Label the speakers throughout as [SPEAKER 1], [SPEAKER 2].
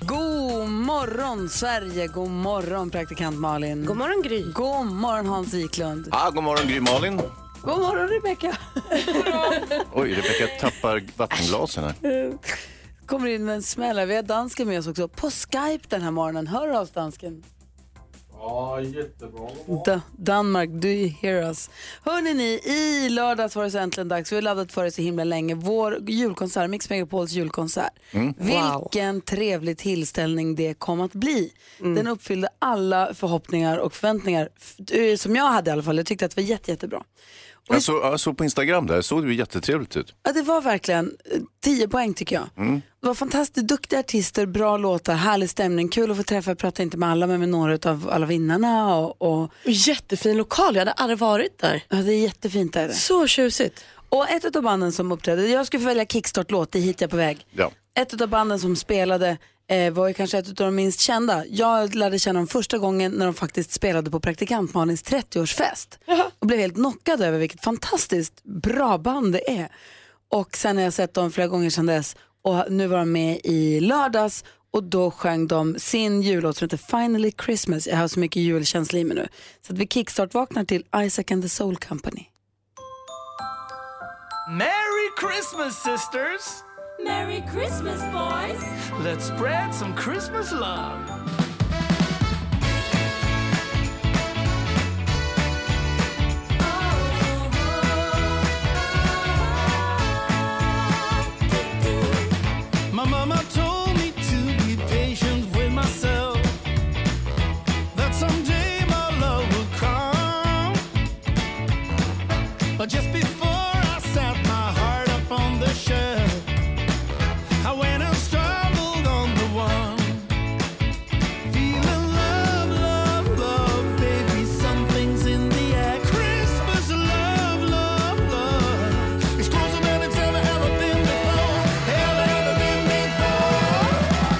[SPEAKER 1] God morgon, Sverige! God morgon, praktikant Malin. God
[SPEAKER 2] morgon, Gry.
[SPEAKER 1] God morgon, Hans Wiklund.
[SPEAKER 3] Ah, god morgon Gry Malin.
[SPEAKER 1] God morgon, Rebecka.
[SPEAKER 3] Oj, Rebecka tappar vattenglasen här.
[SPEAKER 1] Kommer in med en smäll. här. Vi har dansken med oss också på Skype den här morgonen. Hör du oss, dansken?
[SPEAKER 4] Ja, jättebra.
[SPEAKER 1] Da- Danmark, do you hear us? Hörrni, ni, i lördags var det så äntligen dags. Vi har laddat för det så himla länge. Vår julkonsert, Mix Megapols julkonsert.
[SPEAKER 5] Mm.
[SPEAKER 1] Vilken trevlig tillställning det kom att bli. Den uppfyllde alla förhoppningar och förväntningar f- eh, som jag hade i alla fall. Jag tyckte att det var jätte, jättebra.
[SPEAKER 3] Jag såg, jag såg på Instagram där, såg det ju jättetrevligt ut.
[SPEAKER 1] Ja, det var verkligen eh, 10 poäng tycker jag.
[SPEAKER 3] Mm.
[SPEAKER 1] Det var fantastiskt duktiga artister, bra låtar, härlig stämning, kul att få träffa, jag pratar inte med alla men med några av alla vinnarna. Och, och...
[SPEAKER 5] Jättefin lokal, jag hade aldrig varit där.
[SPEAKER 1] Ja, det är jättefint där.
[SPEAKER 5] Så tjusigt.
[SPEAKER 1] Och ett av banden som uppträdde, jag skulle få välja kickstart-låt, det är hit jag är på väg.
[SPEAKER 3] Ja.
[SPEAKER 1] Ett av banden som spelade eh, var ju kanske ett av de minst kända. Jag lärde känna dem första gången när de faktiskt spelade på praktikant Malins 30-årsfest. Och blev helt knockad över vilket fantastiskt bra band det är. Och sen har jag sett dem flera gånger sedan dess och nu var de med i lördags och då sjöng de sin jullåt som heter Finally Christmas. Jag har så mycket julkänsla i mig nu. Så att vi kickstart-vaknar till Isaac and the Soul Company.
[SPEAKER 6] Merry Christmas, sisters! Merry Christmas, boys! Let's spread some Christmas love. My mama told me to be patient with myself. That someday my love will come. But just before I set my heart up on the shelf, I went and stumbled on the one. Feeling love, love, love, baby, something's in the air. Christmas love, love, love. It's closer than it's ever, ever been before. Ever, ever been before.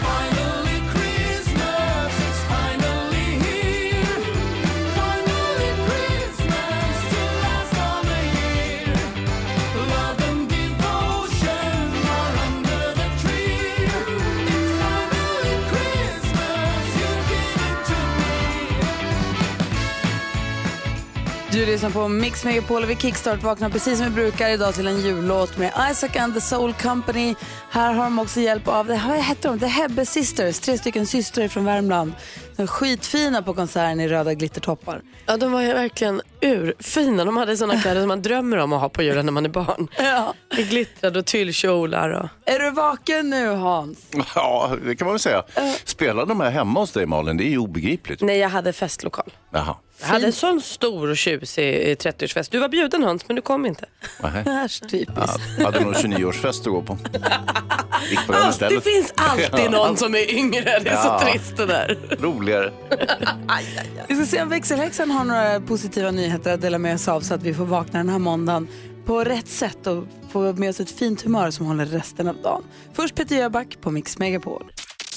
[SPEAKER 6] Finally Christmas, it's finally here. Finally Christmas to last all the year. Love and devotion are under the tree. It's finally Christmas, you give it to me.
[SPEAKER 1] Du lyssnar på Mix Megapol och vi kickstart vaknar precis som vi brukar idag till en jullåt med Isaac and the Soul Company. Här har de också hjälp av, det här heter de, The Hebbe Sisters, tre stycken systrar från Värmland. De är skitfina på konserten i röda glittertoppar.
[SPEAKER 5] Ja, de var ju verkligen urfina. De hade sådana kläder som man drömmer om att ha på julen när man är barn.
[SPEAKER 1] Ja.
[SPEAKER 5] I glittrade och tyllkjolar. Och...
[SPEAKER 1] Är du vaken nu Hans?
[SPEAKER 3] Ja, det kan man väl säga.
[SPEAKER 5] Eh.
[SPEAKER 3] Spelar de här hemma hos dig Malin? Det är ju obegripligt.
[SPEAKER 5] Nej, jag hade festlokal.
[SPEAKER 3] Jaha.
[SPEAKER 5] Jag hade en sån stor och tjusig eh, 30-årsfest. Du var bjuden Hans, men du kom inte.
[SPEAKER 3] Nähä.
[SPEAKER 1] Typiskt.
[SPEAKER 3] Ja, hade någon 29-årsfest att gå på. Gick på den
[SPEAKER 5] Ah, det
[SPEAKER 3] istället.
[SPEAKER 5] finns alltid någon som är yngre. Det är så
[SPEAKER 3] Ja.
[SPEAKER 5] trist det där.
[SPEAKER 3] Roligare.
[SPEAKER 1] Vi ska se om växelhäxan har några positiva nyheter att dela med oss av så att vi får vakna den här måndagen på rätt sätt och få med oss ett fint humör som håller resten av dagen. Först Peter Jöback på Mix Megapol.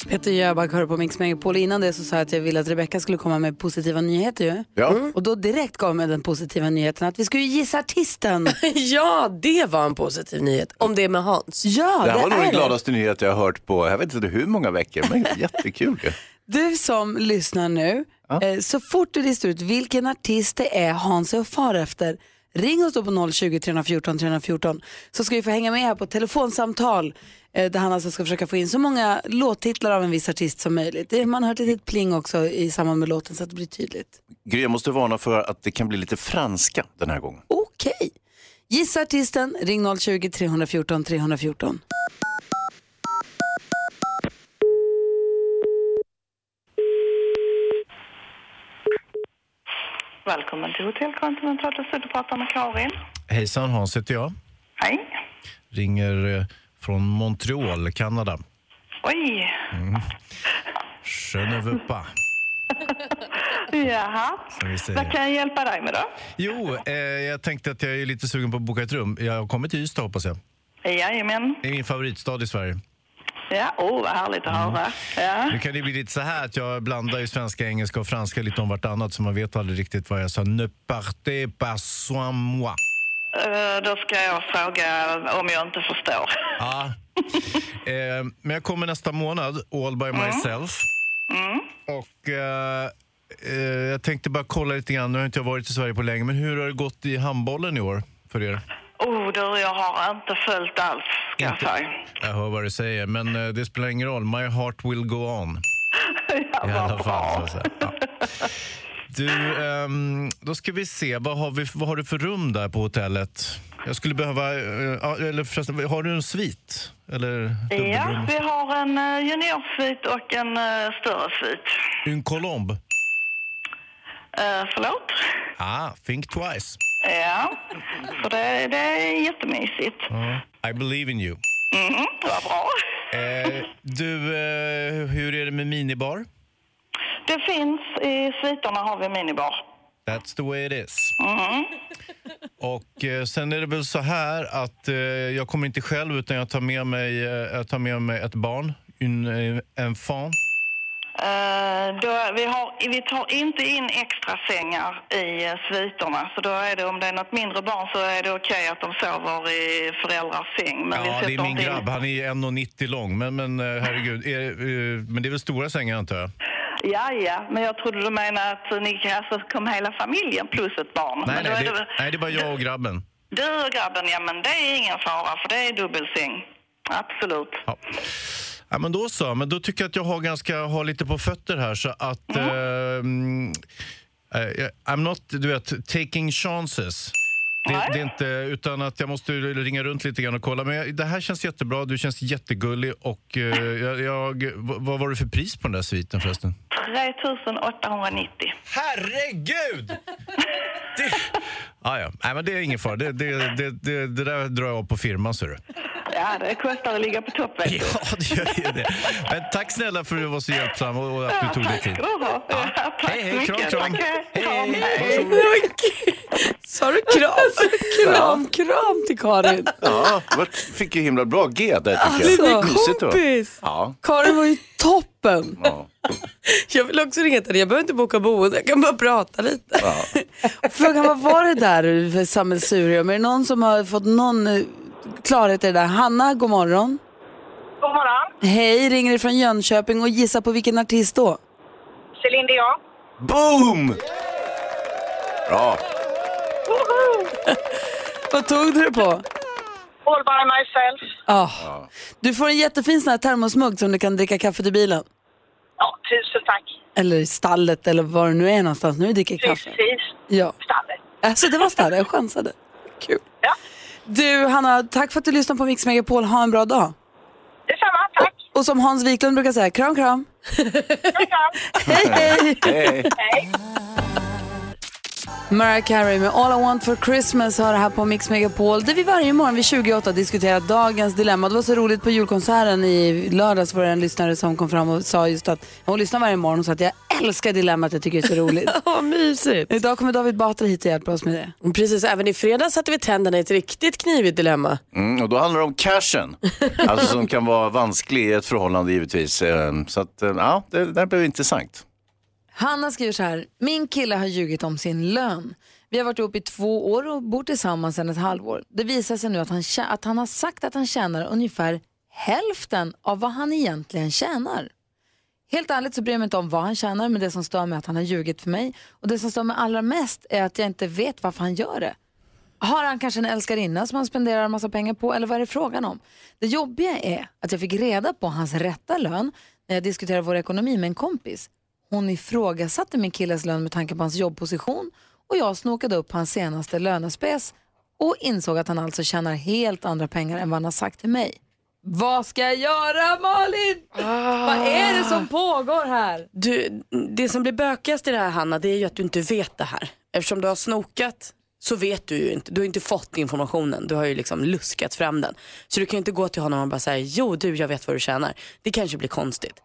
[SPEAKER 1] Peter Jöback hör på Mix Megapol. Innan det så sa jag att jag ville att Rebecca skulle komma med positiva nyheter ju.
[SPEAKER 3] Ja.
[SPEAKER 5] Mm.
[SPEAKER 1] Och då direkt gav jag mig den positiva nyheten att vi skulle gissa artisten.
[SPEAKER 5] ja, det var en positiv nyhet. Om det är med Hans.
[SPEAKER 1] Ja,
[SPEAKER 3] det här var nog
[SPEAKER 1] är
[SPEAKER 3] den
[SPEAKER 1] det.
[SPEAKER 3] gladaste nyhet jag har hört på, jag vet inte hur många veckor, men jättekul ju.
[SPEAKER 1] Du som lyssnar nu, eh, så fort du listar ut vilken artist det är Hans är och far efter, ring oss då på 020 314 314 så ska vi få hänga med här på ett telefonsamtal eh, där han alltså ska försöka få in så många låttitlar av en viss artist som möjligt. Det- Man hör ett litet pling också i samband med låten så att det blir tydligt.
[SPEAKER 3] Gry, jag måste varna för att det kan bli lite franska den här gången.
[SPEAKER 1] Okej. Gissa artisten, ring 020 314 314.
[SPEAKER 7] Välkommen till Hotell Continental. Du pratar med Karin.
[SPEAKER 8] Hejsan, Hans heter jag.
[SPEAKER 7] Hej.
[SPEAKER 8] Ringer eh, från Montreal, Kanada.
[SPEAKER 7] Oj.
[SPEAKER 8] Mm. Je ne veux pas.
[SPEAKER 7] Jaha.
[SPEAKER 3] Som vi säger.
[SPEAKER 7] Vad kan jag hjälpa dig med då?
[SPEAKER 3] Jo, eh, jag tänkte att jag är lite sugen på att boka ett rum. Jag har kommit till Ystad hoppas jag.
[SPEAKER 7] Jajamän.
[SPEAKER 3] Det är min favoritstad i Sverige.
[SPEAKER 7] Ja, åh oh, vad härligt att höra. Ja.
[SPEAKER 3] Nu kan det bli lite så här att jag blandar ju svenska, engelska och franska lite om vartannat så man vet aldrig riktigt vad jag sa. Ne partez pas sans moi.
[SPEAKER 7] Eh, Då ska jag fråga om jag inte förstår.
[SPEAKER 3] Ja. eh, men jag kommer nästa månad, all by myself. Och eh, eh, jag tänkte bara kolla lite grann, nu har inte jag varit i Sverige på länge, men hur har det gått i handbollen i år för er?
[SPEAKER 7] Oh, du, jag har inte följt alls, ska jag säga.
[SPEAKER 3] Jag hör vad du säger, men eh, det spelar ingen roll. My heart will go on. I alla fall, så att säga. Ja. Du, ehm, då ska vi se. Vad har, vi, vad har du för rum där på hotellet? Jag skulle behöva... eh, ja, eller förresten, har du en svit? Eller
[SPEAKER 7] Ja,
[SPEAKER 3] dubbelrum?
[SPEAKER 7] vi har en eh, juniorsvit och en eh, större svit.
[SPEAKER 3] En colombe?
[SPEAKER 7] Eh, Förlåt?
[SPEAKER 3] Ah, think twice.
[SPEAKER 7] Ja, för det, det är jättemysigt.
[SPEAKER 3] Mm. I believe in you.
[SPEAKER 7] Mm, vad bra.
[SPEAKER 3] Eh, du, eh, hur är det med minibar?
[SPEAKER 7] Det finns, i sviterna har vi minibar.
[SPEAKER 3] That's the way it is.
[SPEAKER 7] Mm.
[SPEAKER 3] Och eh, sen är det väl så här att eh, jag kommer inte själv utan jag tar med mig, eh, jag tar med mig ett barn, en, eh, en fan.
[SPEAKER 7] Eh, då, vi, har, vi tar inte in extra sängar i eh, sviterna. Så då är det, om det är något mindre barn så är det okej att de sover i föräldrars säng. Men vi
[SPEAKER 3] Ja, det är
[SPEAKER 7] sätter
[SPEAKER 3] min
[SPEAKER 7] inte in-
[SPEAKER 3] grabb. Han är 1,90 lång. Men, men eh, herregud, är, eh, men det är väl stora sängar antar jag?
[SPEAKER 7] Ja, ja, men jag trodde du menade att ni kan- alltså, kom hela familjen plus ett barn.
[SPEAKER 3] Nej,
[SPEAKER 7] men då
[SPEAKER 3] nej,
[SPEAKER 7] är
[SPEAKER 3] det,
[SPEAKER 7] det,
[SPEAKER 3] nej, det är bara jag och grabben.
[SPEAKER 7] du och grabben, ja men det är ingen fara för det är dubbelsäng. Absolut.
[SPEAKER 3] Ja, men då så. Men då tycker jag att jag har, ganska, har lite på fötter här så att... ehm, eh, jag- I'm not, du vet, taking chances. Det, det är inte, utan att jag måste ringa runt lite grann och kolla. Men jag, det här känns jättebra, du känns jättegullig och eh, jag, jag, vad vad var det för pris på den där sviten förresten?
[SPEAKER 7] 3890.
[SPEAKER 3] Herregud! Ah, ja. Nej, men det är ingen fara, det, det, det, det, det där drar jag av på firman ser du.
[SPEAKER 7] Ja, det kostar att ligga på topp vet du.
[SPEAKER 3] Ja, det gör ju det. Men tack snälla för att du var så hjälpsam och och att du tog dig tid.
[SPEAKER 7] Jaha, ja, tack
[SPEAKER 3] Hej,
[SPEAKER 7] så
[SPEAKER 3] hej, kram,
[SPEAKER 7] mycket.
[SPEAKER 3] kram.
[SPEAKER 7] Tack,
[SPEAKER 3] Hej,
[SPEAKER 7] Kram,
[SPEAKER 3] hej.
[SPEAKER 9] Sa du kram? Alltså, kram, kram till Karin.
[SPEAKER 10] Ja, vad- fick ju himla bra G där tycker
[SPEAKER 9] Alltså,
[SPEAKER 10] jag. Mysigt då.
[SPEAKER 5] kompis.
[SPEAKER 10] Ja.
[SPEAKER 9] Karin var ju toppen.
[SPEAKER 5] Jag vill också ringa till henne. Jag behöver inte boka boende. Jag kan bara prata lite.
[SPEAKER 9] Frågan vad var det där för sammelsurium? Är det någon som har fått någon eh, klarhet i det där? Hanna, god morgon.
[SPEAKER 11] God morgon.
[SPEAKER 9] Hej, ringer från Jönköping och gissa på vilken artist då?
[SPEAKER 11] Celine Dion.
[SPEAKER 10] Boom! Bra.
[SPEAKER 9] Vad tog du det på?
[SPEAKER 11] All by myself.
[SPEAKER 9] Ah. Du får en jättefin sån här termosmugg som du kan dricka kaffe till bilen.
[SPEAKER 11] Ja, tusen tack.
[SPEAKER 9] Eller i stallet eller var du nu är någonstans. Nu dricker jag kaffe.
[SPEAKER 11] Precis.
[SPEAKER 9] Ja.
[SPEAKER 11] Stallet.
[SPEAKER 9] Alltså det var stallet, jag chansade. Kul. Du Hanna, tack för att du lyssnade på Mix Megapol. Ha en bra dag.
[SPEAKER 11] Detsamma, tack.
[SPEAKER 9] Och, och som Hans Wiklund brukar säga, kram kram. Hej, hej. Hej. Mariah Carey med All I Want For Christmas har det här på Mix Megapol där vi varje morgon vid 28 diskuterar dagens dilemma. Det var så roligt på julkonserten i lördags var det en lyssnare som kom fram och sa just att hon lyssnar varje morgon och sa att jag älskar dilemmat, jag tycker det är så roligt.
[SPEAKER 5] Vad mysigt.
[SPEAKER 9] Idag kommer David Batra hit och hjälpa oss med det.
[SPEAKER 5] Precis, även i fredags satte vi tänderna i ett riktigt knivigt dilemma.
[SPEAKER 10] Mm, och då handlar det om cashen, alltså som kan vara vansklig i ett förhållande givetvis. Eh, Så att, eh, ja, det där blev intressant.
[SPEAKER 1] Hanna skriver så här. Min kille har ljugit om sin lön. Vi har varit ihop i två år och bor tillsammans sedan ett halvår. Det visar sig nu att han, tjä- att han har sagt att han tjänar ungefär hälften av vad han egentligen tjänar. Helt ärligt så bryr jag mig inte om vad han tjänar men det som stör mig är att han har ljugit för mig. Och det som stör mig allra mest är att jag inte vet varför han gör det. Har han kanske en älskarinna som han spenderar en massa pengar på eller vad är det frågan om? Det jobbiga är att jag fick reda på hans rätta lön när jag diskuterade vår ekonomi med en kompis. Hon ifrågasatte min killes lön med tanke på hans jobbposition och jag snokade upp hans senaste lönespes och insåg att han alltså tjänar helt andra pengar än vad han har sagt till mig. Vad ska jag göra Malin?
[SPEAKER 9] Ah.
[SPEAKER 1] Vad är det som pågår här?
[SPEAKER 5] Du, det som blir bökigast i det här Hanna, det är ju att du inte vet det här. Eftersom du har snokat så vet du ju inte, du har ju inte fått informationen, du har ju liksom luskat fram den. Så du kan ju inte gå till honom och bara säga, jo du jag vet vad du tjänar. Det kanske blir konstigt.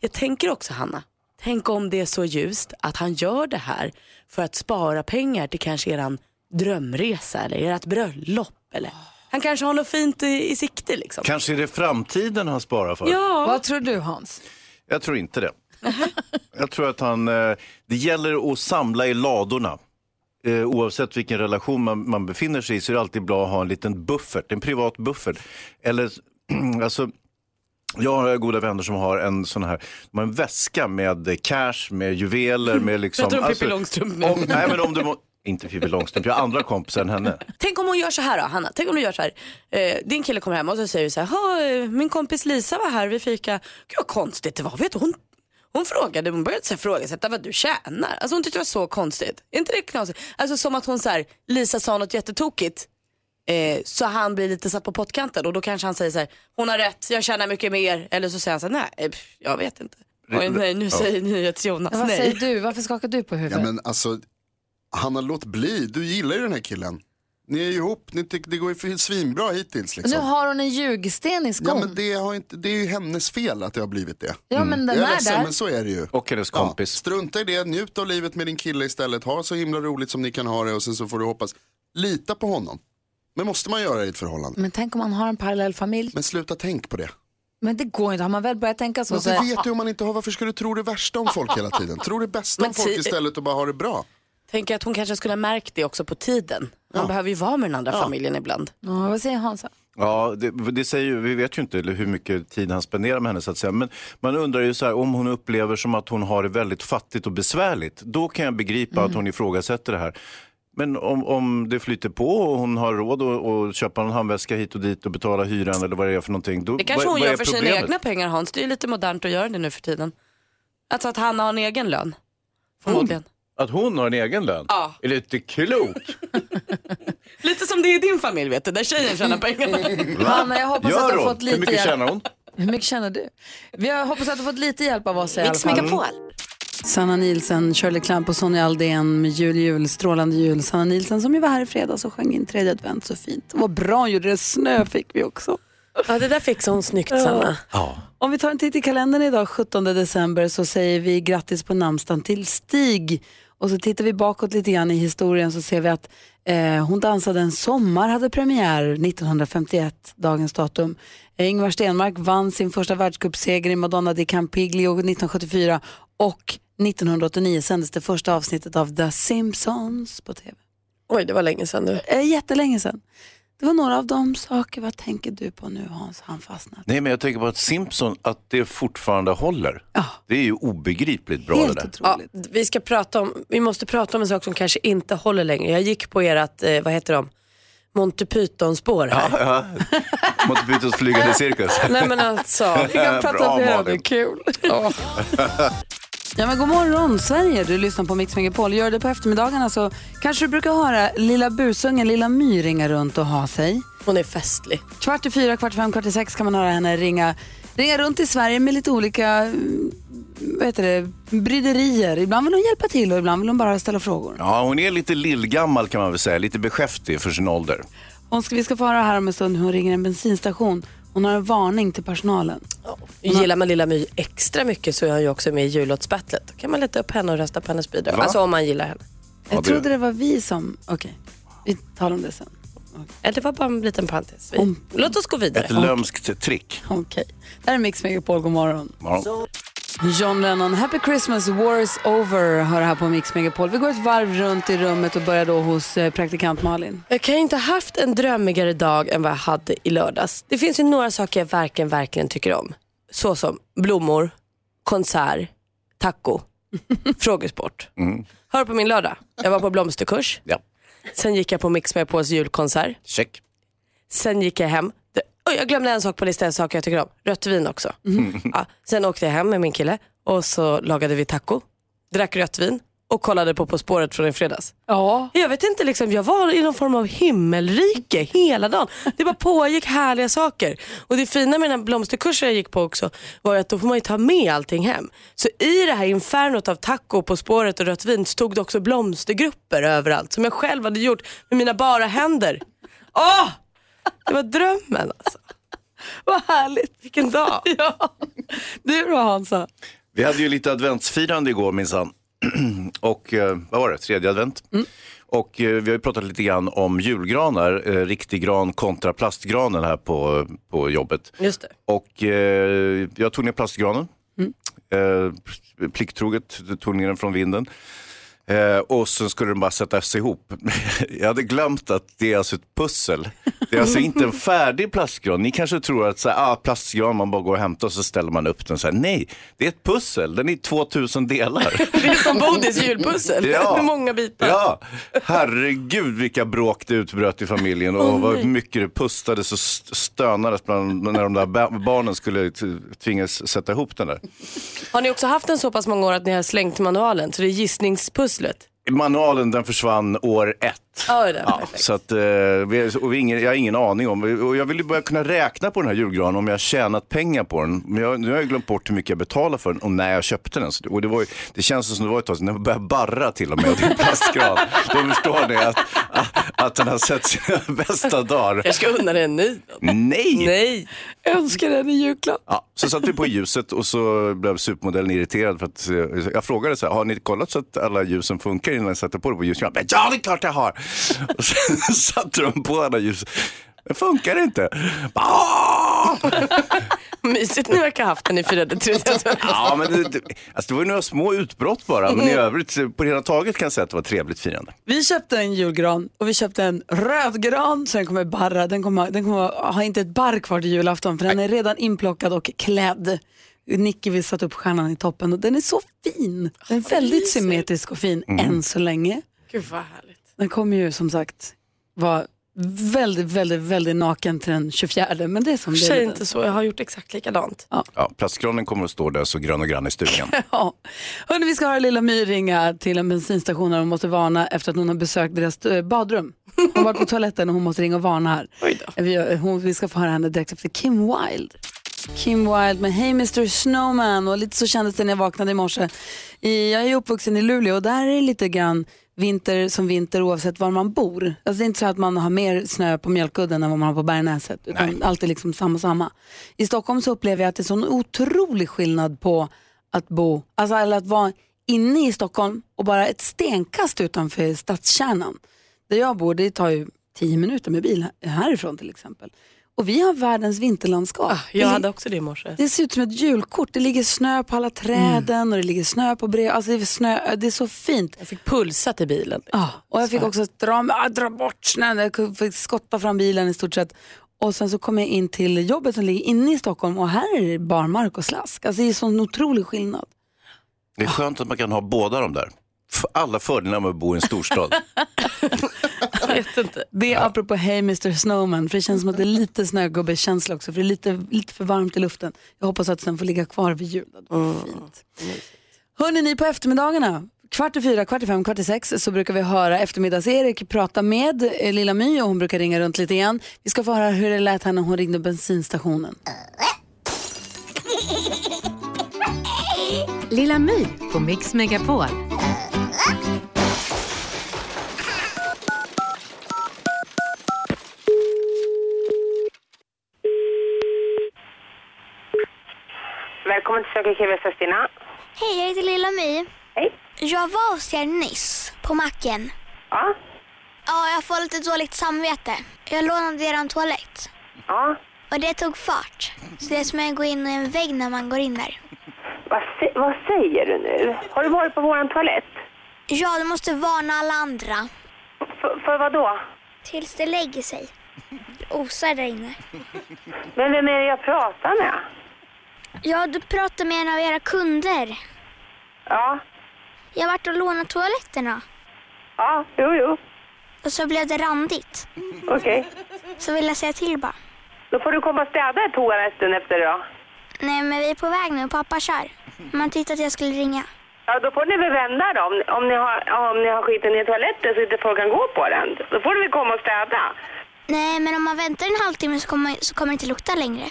[SPEAKER 5] Jag tänker också Hanna,
[SPEAKER 12] Tänk om det är så ljust att han gör det här för att spara pengar till kanske eran drömresa eller ert bröllop. Eller. Han kanske har något fint i, i sikte liksom.
[SPEAKER 3] Kanske är det framtiden han sparar för.
[SPEAKER 9] Vad tror du Hans?
[SPEAKER 3] Jag tror inte det. Jag tror att han, eh, det gäller att samla i ladorna. Eh, Oavsett vilken relation man, man befinner sig i så är det alltid bra att ha en liten buffert, en privat buffert. Eller, alltså, jag har goda vänner som har en sån här, de har en väska med eh, cash, med juveler, med liksom...
[SPEAKER 12] Jag tror Pippi Långstrump nu.
[SPEAKER 3] om, Nej men om du må, inte Pippi Långstrump, jag har andra kompisar än henne.
[SPEAKER 12] Tänk om hon gör så här då, Hanna. Tänk om du gör så här. Eh, din kille kommer hem och så säger du så här. "Ha, eh, Min kompis Lisa var här vid fika. Gud vad konstigt det var. Vet du, hon, hon frågade, hon började så här frågasätta vad du tjänar. Alltså hon tyckte det var så konstigt. Är inte det knasigt? Alltså som att hon så här, Lisa sa något jättetokigt. Eh, så han blir lite satt på pottkanten och då kanske han säger så här. Hon har rätt, jag tjänar mycket mer. Eller så säger han så här, nej, eh, pff, jag vet inte. Oj, nej, nu
[SPEAKER 13] Ja.
[SPEAKER 12] säger NyhetsJonas
[SPEAKER 9] Vad
[SPEAKER 12] nej.
[SPEAKER 9] säger du? Varför skakar du på
[SPEAKER 13] Ja
[SPEAKER 9] huvudet?
[SPEAKER 13] men alltså, Hanna låt bli. Du gillar ju den här killen. Ni är ihop, ni tycker det går ju för- svinbra hittills
[SPEAKER 9] Och
[SPEAKER 13] liksom.
[SPEAKER 9] Nu Alltså, har hon en ljugsten i skon.
[SPEAKER 13] Ja men det, har inte, det är ju hennes fel att det har blivit det.
[SPEAKER 9] Ja, men den
[SPEAKER 13] jag
[SPEAKER 9] är
[SPEAKER 13] ledsen,
[SPEAKER 9] där.
[SPEAKER 13] men så är det ju.
[SPEAKER 3] Och hennes kompis.
[SPEAKER 13] strunta i det, njut av livet med din kille istället. Ha så himla roligt som ni kan ha det och sen så får du hoppas. Lita på honom. Men måste man göra i ett förhållande?
[SPEAKER 9] Men tänk om man har en parallell familj.
[SPEAKER 13] Men sluta tänk på det.
[SPEAKER 9] Men det går inte, har man väl börjat tänka så.
[SPEAKER 13] Men
[SPEAKER 9] så
[SPEAKER 13] det vet du om man inte har, varför ska du tro det värsta om folk hela tiden? Tro det bästa
[SPEAKER 12] Men
[SPEAKER 13] om folk
[SPEAKER 12] ti-
[SPEAKER 13] istället och bara ha det bra.
[SPEAKER 12] Tänker att hon kanske skulle ha märkt det också på tiden. Man behöver ju vara med den andra familjen ibland.
[SPEAKER 9] Ja, vad säger Hansa?
[SPEAKER 3] Ja, det, det säger ju, vi vet ju inte hur mycket tid han spenderar med henne så att säga. Men man undrar ju så här, om hon upplever som att hon har det väldigt fattigt och besvärligt. Då kan jag begripa att hon ifrågasätter det här. Men om, om det flyter på och hon har råd att att köpa en handväska hit och dit och betala hyran eller vad det är för någonting. Då,
[SPEAKER 12] Det kanske
[SPEAKER 3] vad,
[SPEAKER 12] hon
[SPEAKER 3] vad
[SPEAKER 12] gör
[SPEAKER 3] är
[SPEAKER 12] för sina
[SPEAKER 3] problemet?
[SPEAKER 12] egna pengar Hans. Det är ju lite modernt att göra det nu för tiden. Alltså att han har en egen lön. Förmodligen.
[SPEAKER 3] Att hon har en egen lön?
[SPEAKER 12] Ja.
[SPEAKER 3] Är lite klok?
[SPEAKER 12] Lite som det är i din familj vet du, där tjejen tjänar pengarna.
[SPEAKER 9] Hanna, jag hoppas
[SPEAKER 3] Gör
[SPEAKER 9] att du
[SPEAKER 3] hon?
[SPEAKER 9] har fått lite
[SPEAKER 3] Hur mycket
[SPEAKER 9] hjälp.
[SPEAKER 3] tjänar hon?
[SPEAKER 9] Hur mycket tjänar du? Vi har, hoppas att du har fått lite hjälp av oss i alla
[SPEAKER 1] Mix
[SPEAKER 9] fall.
[SPEAKER 1] Megapol. Sanna Nielsen, Shirley Clamp och Sonja Aldén med Jul, jul, strålande jul. Sanna Nielsen som ju var här i fredags och sjöng in tredje advent så fint. Vad bra hon gjorde det. Snö fick vi också.
[SPEAKER 5] Ja, det där fixade hon snyggt,
[SPEAKER 1] Ja.
[SPEAKER 5] Sanna.
[SPEAKER 1] Om vi tar en titt i kalendern idag, 17 december, så säger vi grattis på namnsdagen till Stig. Och så tittar vi bakåt lite grann i historien så ser vi att eh, Hon dansade en sommar hade premiär 1951, dagens datum. Eh, Ingvar Stenmark vann sin första världscupseger i Madonna di Campiglio 1974 och 1989 sändes det första avsnittet av The Simpsons på tv.
[SPEAKER 5] Oj, det var länge sedan du.
[SPEAKER 1] Eh, jättelänge sedan. Det var några av de saker, vad tänker du på nu Hans? Han fastnat.
[SPEAKER 3] Nej, men jag tänker på att Simpson, att det fortfarande håller. Det är ju obegripligt bra det där.
[SPEAKER 5] Ja, vi, ska prata om, vi måste prata om en sak som kanske inte håller längre. Jag gick på ert, eh, vad heter de, Monty Python-spår här.
[SPEAKER 3] Ja, ja. Monty Pythons flygande cirkus.
[SPEAKER 5] Nej men alltså.
[SPEAKER 3] Vi kan prata Bra, om det, Malin. det är
[SPEAKER 1] kul. Ja, men god morgon Sverige, du lyssnar på Mix Megapol. Gör det på eftermiddagarna så kanske du brukar höra lilla busungen, lilla My ringa runt och ha sig.
[SPEAKER 5] Hon är festlig.
[SPEAKER 1] Kvart i fyra, kvart i fem, kvart i sex kan man höra henne ringa, ringa runt i Sverige med lite olika mm, vad heter det, bryderier. Ibland vill hon hjälpa till och ibland vill hon bara ställa frågor.
[SPEAKER 3] Ja, hon är lite lillgammal kan man väl säga, lite beskäftig för sin ålder.
[SPEAKER 1] Hon ska, vi ska få höra här om en stund hur hon ringer en bensinstation. Hon har en varning till personalen.
[SPEAKER 5] Gillar man Lilla My extra mycket så är hon ju också med i jullåtsbattlet. Då kan man leta upp henne och rösta på hennes bidrag.
[SPEAKER 1] Va?
[SPEAKER 5] Alltså om man gillar henne.
[SPEAKER 1] Jag trodde det var vi som... Okej, vi talar om det sen.
[SPEAKER 5] Eller det var bara en liten parentes. Vi...
[SPEAKER 1] Om-
[SPEAKER 5] Låt oss gå vidare.
[SPEAKER 3] Ett lömskt trick.
[SPEAKER 1] Okej. Det här är Mix Megapol. God morgon.
[SPEAKER 3] Morgon.
[SPEAKER 1] John Lennon, Happy Christmas, War is over, hör det här på Mix Megapol. Vi går ett varv runt i rummet och börjar då hos eh, praktikant Malin.
[SPEAKER 5] Jag kan ju inte ha haft en drömmigare dag än vad jag hade i lördags. Det finns ju några saker jag verkligen, verkligen tycker om. Så som blommor, konsert, taco, frågesport.
[SPEAKER 3] Mm.
[SPEAKER 5] Hör på min lördag. Jag var på blomsterkurs.
[SPEAKER 3] Ja.
[SPEAKER 5] Sen gick jag på Mix Megapols julkonsert.
[SPEAKER 3] Check.
[SPEAKER 5] Sen gick jag hem. Det- Oj, jag glömde en sak på listan, saker jag tycker om. Rött vin också. Ja, sen åkte jag hem med min kille och så lagade vi taco, drack rött vin och kollade på På spåret från i fredags.
[SPEAKER 1] Ja.
[SPEAKER 5] Jag vet inte, liksom, jag var i någon form av himmelrike hela dagen. Det bara pågick härliga saker. Och det fina med den här blomsterkursen jag gick på också var ju att då får man ju ta med allting hem. Så i det här infernot av taco, På spåret och rött vin så tog det också blomstergrupper överallt som jag själv hade gjort med mina bara händer. Åh! Det var drömmen alltså.
[SPEAKER 1] Vad härligt.
[SPEAKER 5] Vilken dag.
[SPEAKER 1] Du då Hansa?
[SPEAKER 3] Vi hade ju lite adventsfirande igår minsann. Och eh, vad var det? Tredje advent.
[SPEAKER 1] Mm.
[SPEAKER 3] Och eh, vi har ju pratat lite grann om julgranar, eh, riktig gran kontra plastgranen här på, på jobbet.
[SPEAKER 14] Just det.
[SPEAKER 3] Och eh, jag tog ner plastgranen. Eh, plikttroget tog ner den från vinden. Eh, och sen skulle den bara sättas ihop. jag hade glömt att det är alltså ett pussel. Det är alltså inte en färdig plastgran. Ni kanske tror att så här, ah, plastgran man bara går och hämtar och så ställer man upp den. Så här, nej, det är ett pussel. Den är i 2000 delar.
[SPEAKER 14] Det är som Bodis julpussel.
[SPEAKER 3] Ja.
[SPEAKER 14] Med många bitar.
[SPEAKER 3] Ja, herregud vilka bråk det utbröt i familjen och
[SPEAKER 14] Åh, nej.
[SPEAKER 3] vad mycket det pustades och st- stönades bland, när de där ba- barnen skulle t- tvingas sätta ihop den där.
[SPEAKER 5] Har ni också haft den så pass många år att ni har slängt manualen? Så det är gissningspusslet.
[SPEAKER 3] Manualen den försvann år ett.
[SPEAKER 5] Ja, det är
[SPEAKER 3] Ja, så att, eh, vi, och vi har ingen, jag har ingen aning om, och jag vill ju börja kunna räkna på den här julgranen om jag har tjänat pengar på den. Men jag, nu har jag glömt bort hur mycket jag betalade för den och när jag köpte den. Så det, och det, var ju, det känns som det var ett tag sedan, den började barra till och med, och det är en plastgran. Då förstår ni att, att den har sett sina bästa dagar.
[SPEAKER 5] Jag ska unna dig en ny.
[SPEAKER 3] Nej!
[SPEAKER 5] Nej.
[SPEAKER 15] Jag önskar den i julklapp.
[SPEAKER 3] Ja, så satte vi på ljuset och så blev supermodellen irriterad för att eh, jag frågade så här, har ni kollat så att alla ljusen funkar innan jag sätter på det på ljusgran? Men ja, det är klart jag har! Och sen satte de på alla ljus. Det funkar inte.
[SPEAKER 5] Mysigt ni verkar ha haft den i fyra tredje
[SPEAKER 3] Ja, men det, det, alltså det var ju några små utbrott bara, men i övrigt eh, på det hela taget kan jag säga att det var ett trevligt firande.
[SPEAKER 1] Vi köpte en julgran och vi köpte en röd gran så den kommer barra. Den kommer, den kommer ha inte ett barr kvar till julafton för den är redan inplockad och klädd. Nicky vill sätta upp stjärnan i toppen och den är så fin. Den är väldigt symmetrisk och fin
[SPEAKER 5] Mm.
[SPEAKER 1] än så länge.
[SPEAKER 5] Gud vad härligt.
[SPEAKER 1] Den kommer ju som sagt vara väldigt, väldigt, väldigt naken till den 24 men det är som det
[SPEAKER 5] Säg
[SPEAKER 1] är.
[SPEAKER 5] inte så, jag har gjort exakt likadant.
[SPEAKER 3] Ja, plastgranen kommer att stå där så grön och grann i stugan.
[SPEAKER 1] Ja. Hörrni, vi ska höra Lilla My ringa till en bensinstation där hon måste varna efter att hon har besökt deras eh, badrum. Hon har varit på toaletten och hon måste ringa och varna här. Vi, eh, hon, vi ska få höra henne direkt efter Kim Wilde. Kim Wilde med Hey Mr Snowman och lite så kändes det när jag vaknade i morse. I, jag är ju uppvuxen i Luleå och där är det lite grann vinter som vinter oavsett var man bor. Alltså det är inte så att man har mer snö på Mjölkudden än vad man har på Bergnäset. Utan allt är liksom samma samma. I Stockholm så upplever jag att det är sån otrolig skillnad på att bo, alltså eller att vara inne i Stockholm och bara ett stenkast utanför stadskärnan. Där jag bor, det tar ju tio minuter med bil här- härifrån till exempel. Och vi har världens vinterlandskap.
[SPEAKER 5] Ah, Jag
[SPEAKER 1] Det-
[SPEAKER 5] hade också det i morse.
[SPEAKER 1] det ser ut som ett julkort. Det ligger snö på alla träden
[SPEAKER 5] Mm.
[SPEAKER 1] och det ligger snö på brev. Alltså det, är snö, det är så fint.
[SPEAKER 5] Jag fick pulsat i bilen.
[SPEAKER 1] Ja, och jag fick också dra, ah, dra bort snön. Jag kunde- fick skotta fram bilen i stort sett. Och sen så kom jag in till jobbet som ligger inne i Stockholm och här är det barmark och slask. Alltså det är sån otrolig skillnad.
[SPEAKER 3] Det är skönt att man kan ha båda de där. F- Alla fördelar med att bo i en storstad.
[SPEAKER 1] Det är apropå Hey Mr Snowman, för det känns som att det är lite snögubbekänsla också, för det är lite, lite för varmt i luften. Jag hoppas att den får ligga kvar vid jul. Det hade varit fint. Hörrni, ni på eftermiddagarna, kvart i fyra, kvart i fem, kvart i sex så brukar vi höra eftermiddags-Erik prata med eh, Lilla My och hon brukar ringa runt lite igen. Vi ska få höra hur det lät här när hon ringde bensinstationen.
[SPEAKER 6] Lilla My på Mix Megapol.
[SPEAKER 11] Välkommen till Söker kille Stina.
[SPEAKER 16] Hej, jag heter Lilla My. Hej. Jag var hos er nyss, på macken. Ja. Ja, jag får lite dåligt samvete. Jag lånade er toalett. Ja. Och det tog fart. Så det är som att gå in i en vägg när man går in där.
[SPEAKER 11] Vad, sä- vad säger du nu? Har du varit på våran toalett?
[SPEAKER 16] Ja, du måste varna alla andra.
[SPEAKER 11] För, för vad då?
[SPEAKER 16] Tills det lägger sig. Det osar där inne.
[SPEAKER 11] Men vem är det jag pratar med?
[SPEAKER 16] Ja, du pratade med en av era kunder. Ja. Jag har varit och lånat toaletterna. Ja, jo, jo. Och så blev det randigt.
[SPEAKER 11] Okej.
[SPEAKER 16] Så vill jag säga till bara.
[SPEAKER 11] Då får du komma och städa i toaletten efter idag.
[SPEAKER 16] Nej, men vi är på väg nu. Pappa kör. Man tyckte att jag skulle ringa.
[SPEAKER 11] Ja, då får ni väl vända då. Om, om, ni har, ja, om ni har skiten i toaletten så inte folk kan gå på den. Då får du väl komma och städa.
[SPEAKER 16] Nej, men om man väntar en halvtimme så kommer, så kommer det inte lukta längre.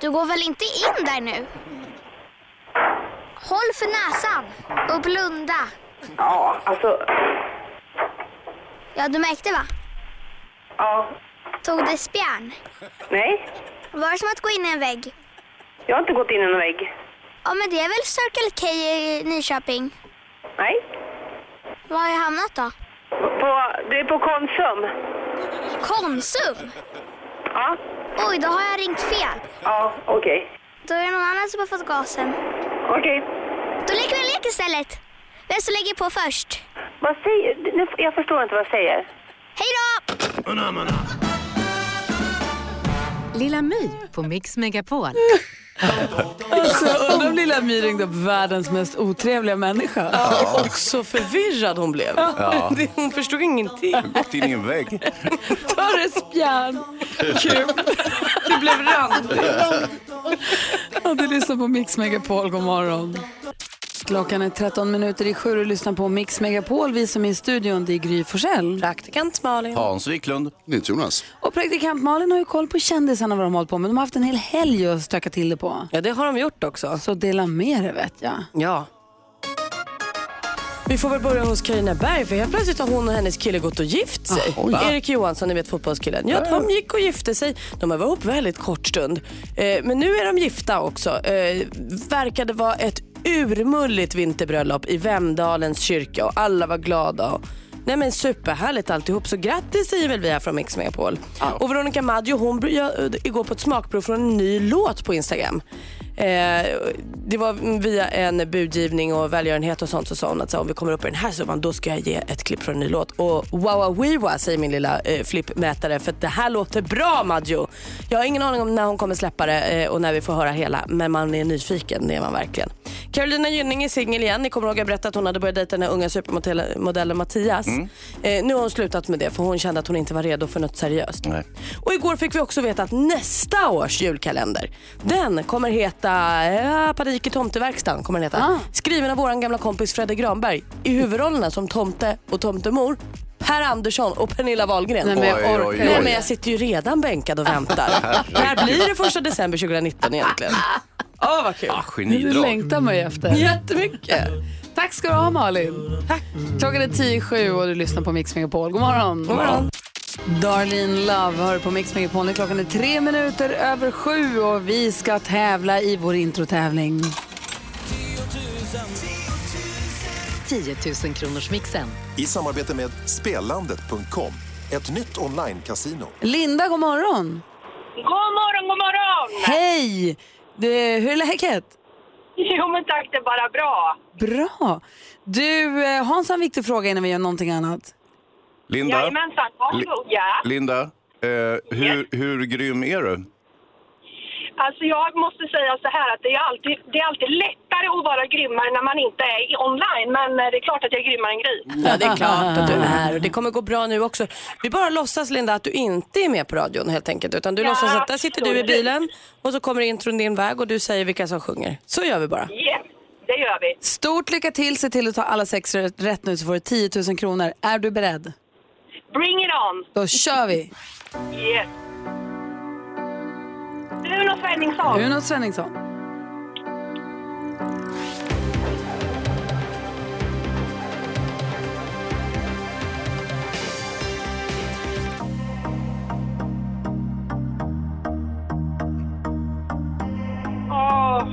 [SPEAKER 16] Du går väl inte in där nu? Håll för näsan och blunda.
[SPEAKER 11] Ja, alltså.
[SPEAKER 16] Ja, du märkte va?
[SPEAKER 11] Ja.
[SPEAKER 16] Tog det spjärn?
[SPEAKER 11] Nej,
[SPEAKER 16] Var det som att gå in i en vägg?
[SPEAKER 11] jag har inte gått in i någon vägg.
[SPEAKER 16] Ja, men det är väl Circle K i Nyköping? Nej. Var har jag hamnat då? På, det är på Konsum. Konsum? Ja. Oj, då har jag ringt fel.
[SPEAKER 11] Ja, okej.
[SPEAKER 16] Då är det någon annan som har fått gasen. Okej. Då leker vi en lek istället. Vem som lägger på först? Vad säger du? Jag förstår inte vad du säger. Hej då!
[SPEAKER 6] Lilla My på Mix Megapol.
[SPEAKER 1] Alltså, undrar om lilla My ringde upp världens mest otrevliga människa.
[SPEAKER 5] Ja, och så förvirrad hon blev.
[SPEAKER 3] Ja.
[SPEAKER 5] Det- Hon förstod ingenting.
[SPEAKER 3] Gått in i en vägg.
[SPEAKER 1] Torres Björn. Kul.
[SPEAKER 5] Det blev randigt.
[SPEAKER 1] Ja, du lyssnar på Mix Megapol. God morgon. Klockan är 13 minuter i sju och lyssnar på Mix Megapol. Vi som är i studion, det är Gry Forssell.
[SPEAKER 5] Praktikant Malin.
[SPEAKER 3] Hans Wiklund.
[SPEAKER 13] Jonas.
[SPEAKER 1] Och praktikant Malin har ju koll på kändisarna vad de har hållit på med. De har haft en hel helg att stöka till det på.
[SPEAKER 5] Ja, det har de gjort också.
[SPEAKER 1] Så dela med er vet jag.
[SPEAKER 5] Ja. Vi får väl börja hos Carina Berg för helt plötsligt har hon och hennes kille gått och gift sig.
[SPEAKER 1] Ah, oj.
[SPEAKER 5] Erik Johansson, ni vet fotbollskillen. Ja, de gick och gifte sig. De var ihop väldigt kort stund. Eh, men nu är de gifta också. Eh, verkade vara ett urmulligt vinterbröllop i Vemdalens kyrka och alla var glada. Och... Nej men superhärligt alltihop, så grattis säger väl vi här från Mix Megapol. Och Veronica Maggio hon bjöd igår på ett smakprov från en ny låt på Instagram. Eh, det var via en budgivning och välgörenhet och sånt så sa hon att så, här, om vi kommer upp i den här summan då ska jag ge ett klipp från en ny låt. Och wawawiwa säger min lilla eh, flippmätare för att det här låter bra Maggio. Jag har ingen aning om när hon kommer släppa det eh, och när vi får höra hela men man är nyfiken, det är man verkligen. Carolina Gynning är singel igen. Ni kommer ihåg att jag berättade att hon hade börjat dejta den här unga supermodellen Mattias. Eh, nu har hon slutat med det för hon kände att hon inte var redo för något seriöst. Och igår fick vi också veta att nästa års julkalender, den kommer heta eh, Panik i tomteverkstan. Kommer den heta.
[SPEAKER 1] Ah.
[SPEAKER 5] Skriven av vår gamla kompis Fredde Granberg i huvudrollerna som tomte och tomtemor. Per Andersson och Pernilla Wahlgren.
[SPEAKER 1] Nej, men jag Oj, orkar oj, oj.
[SPEAKER 5] Nej, men jag sitter ju redan bänkad och väntar. det här blir det första december 2019 egentligen. Åh, vad kul. Ah,
[SPEAKER 1] Det längtar man ju efter.
[SPEAKER 5] Jättemycket.
[SPEAKER 1] Eh, Tack ska du ha Malin. Tack. Klockan är 10 i sju och du lyssnar på Mix Megapol. God morgon.
[SPEAKER 5] God morgon.
[SPEAKER 1] Darlene Love hör på Mix Megapol. Nu Klockan är tre minuter över sju och vi ska tävla i vår introtävling.
[SPEAKER 6] 10 000 kronors mixen.
[SPEAKER 17] I samarbete med Spelandet.com, ett nytt online-casino.
[SPEAKER 1] Linda, god morgon.
[SPEAKER 11] God morgon, god morgon!
[SPEAKER 1] Hej! Du, hur är läget?
[SPEAKER 11] Jo men tack, det är bara bra.
[SPEAKER 1] Bra. Du, eh, Hans har en viktig fråga innan vi gör någonting annat.
[SPEAKER 3] Linda.
[SPEAKER 11] Jajamensan, varsågod. Ja.
[SPEAKER 3] Linda, eh, hur, hur grym är du?
[SPEAKER 11] Alltså jag måste säga så här att det är, alltid, det är alltid lättare att vara grymmare när man inte är i- online. Men eh, det är klart att jag är grymmare än Gry.
[SPEAKER 5] Ja, det är klart att du är. Och det kommer gå bra nu också. Vi bara låtsas, Linda, att du inte är med på radion helt enkelt. Utan du
[SPEAKER 11] Ja,
[SPEAKER 5] låtsas att där sitter du i
[SPEAKER 11] absolut.
[SPEAKER 5] bilen och så kommer intron din väg och du säger vilka som sjunger. Så gör vi bara.
[SPEAKER 11] Yes, det gör vi.
[SPEAKER 1] Stort lycka till. Se till att ta alla sex r- rätt nu så får du 10 000 kronor. Är du beredd?
[SPEAKER 11] Bring it on!
[SPEAKER 1] Då kör vi.
[SPEAKER 11] Yes. Uno Svenningsson.
[SPEAKER 1] Uno Svenningsson.
[SPEAKER 11] Åh.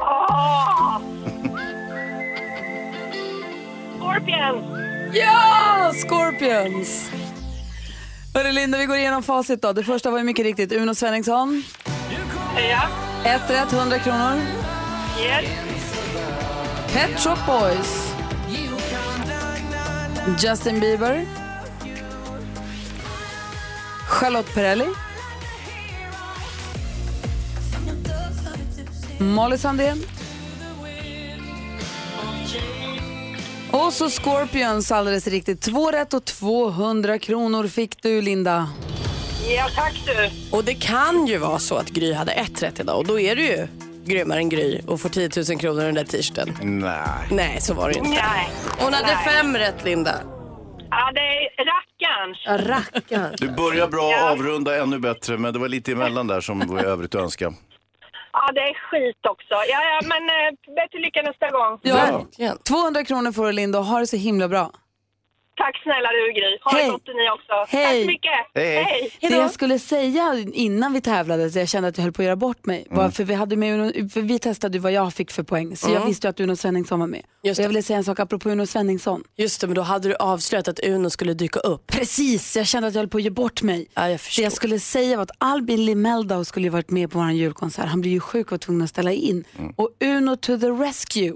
[SPEAKER 11] Åh. Scorpions!
[SPEAKER 1] Ja! Scorpions! Hörru Linda, vi går igenom facit då. Det första var ju mycket riktigt Uno Svenningsson.
[SPEAKER 11] Ja.
[SPEAKER 1] Ett rätt, 100 kronor.
[SPEAKER 11] Yes.
[SPEAKER 1] Pet Shop Boys. Justin Bieber. Charlotte Perrelli. Molly Sandén. Och så Scorpions alldeles riktigt. Två rätt och 200 kronor fick du Linda.
[SPEAKER 11] Ja, tack du.
[SPEAKER 5] Och det kan ju vara så att Gry hade ett rätt idag och då är du ju grymmare än Gry och får 10 000 kronor den där t-shirten.
[SPEAKER 3] Nej.
[SPEAKER 5] Nej, så var det ju inte.
[SPEAKER 11] Nej.
[SPEAKER 5] Hon hade
[SPEAKER 11] Nej.
[SPEAKER 5] fem rätt, Linda.
[SPEAKER 11] Ja, det är rackarns.
[SPEAKER 5] Rackarn.
[SPEAKER 3] Du börjar bra, avrunda ännu bättre, men det var lite emellan där som var i övrigt att önska.
[SPEAKER 11] Ja, det är skit också. Ja, ja, men eh, bättre lycka nästa gång.
[SPEAKER 1] Verkligen. 200 kronor får du Linda och ha det så himla bra.
[SPEAKER 11] Tack snälla du Gry. Ha
[SPEAKER 1] Hej.
[SPEAKER 11] det gott ni också. Tack
[SPEAKER 1] Hej.
[SPEAKER 11] så mycket.
[SPEAKER 1] Det jag skulle säga innan vi tävlade, så jag kände att jag höll på att göra bort mig, var för vi, hade med Uno, för vi testade ju vad jag fick för poäng, så jag
[SPEAKER 5] Mm.
[SPEAKER 1] visste ju att Uno Svenningsson var med. Och jag ville säga en sak apropå Uno Svenningsson.
[SPEAKER 5] Just det, men då hade du avslöjat att Uno skulle dyka upp.
[SPEAKER 1] Precis, jag kände att jag höll på att ge bort mig. det jag skulle säga var att Albin Limeldau skulle ju varit med på vår julkonsert. Han blev ju sjuk och var tvungen att ställa in. Och Uno to the rescue.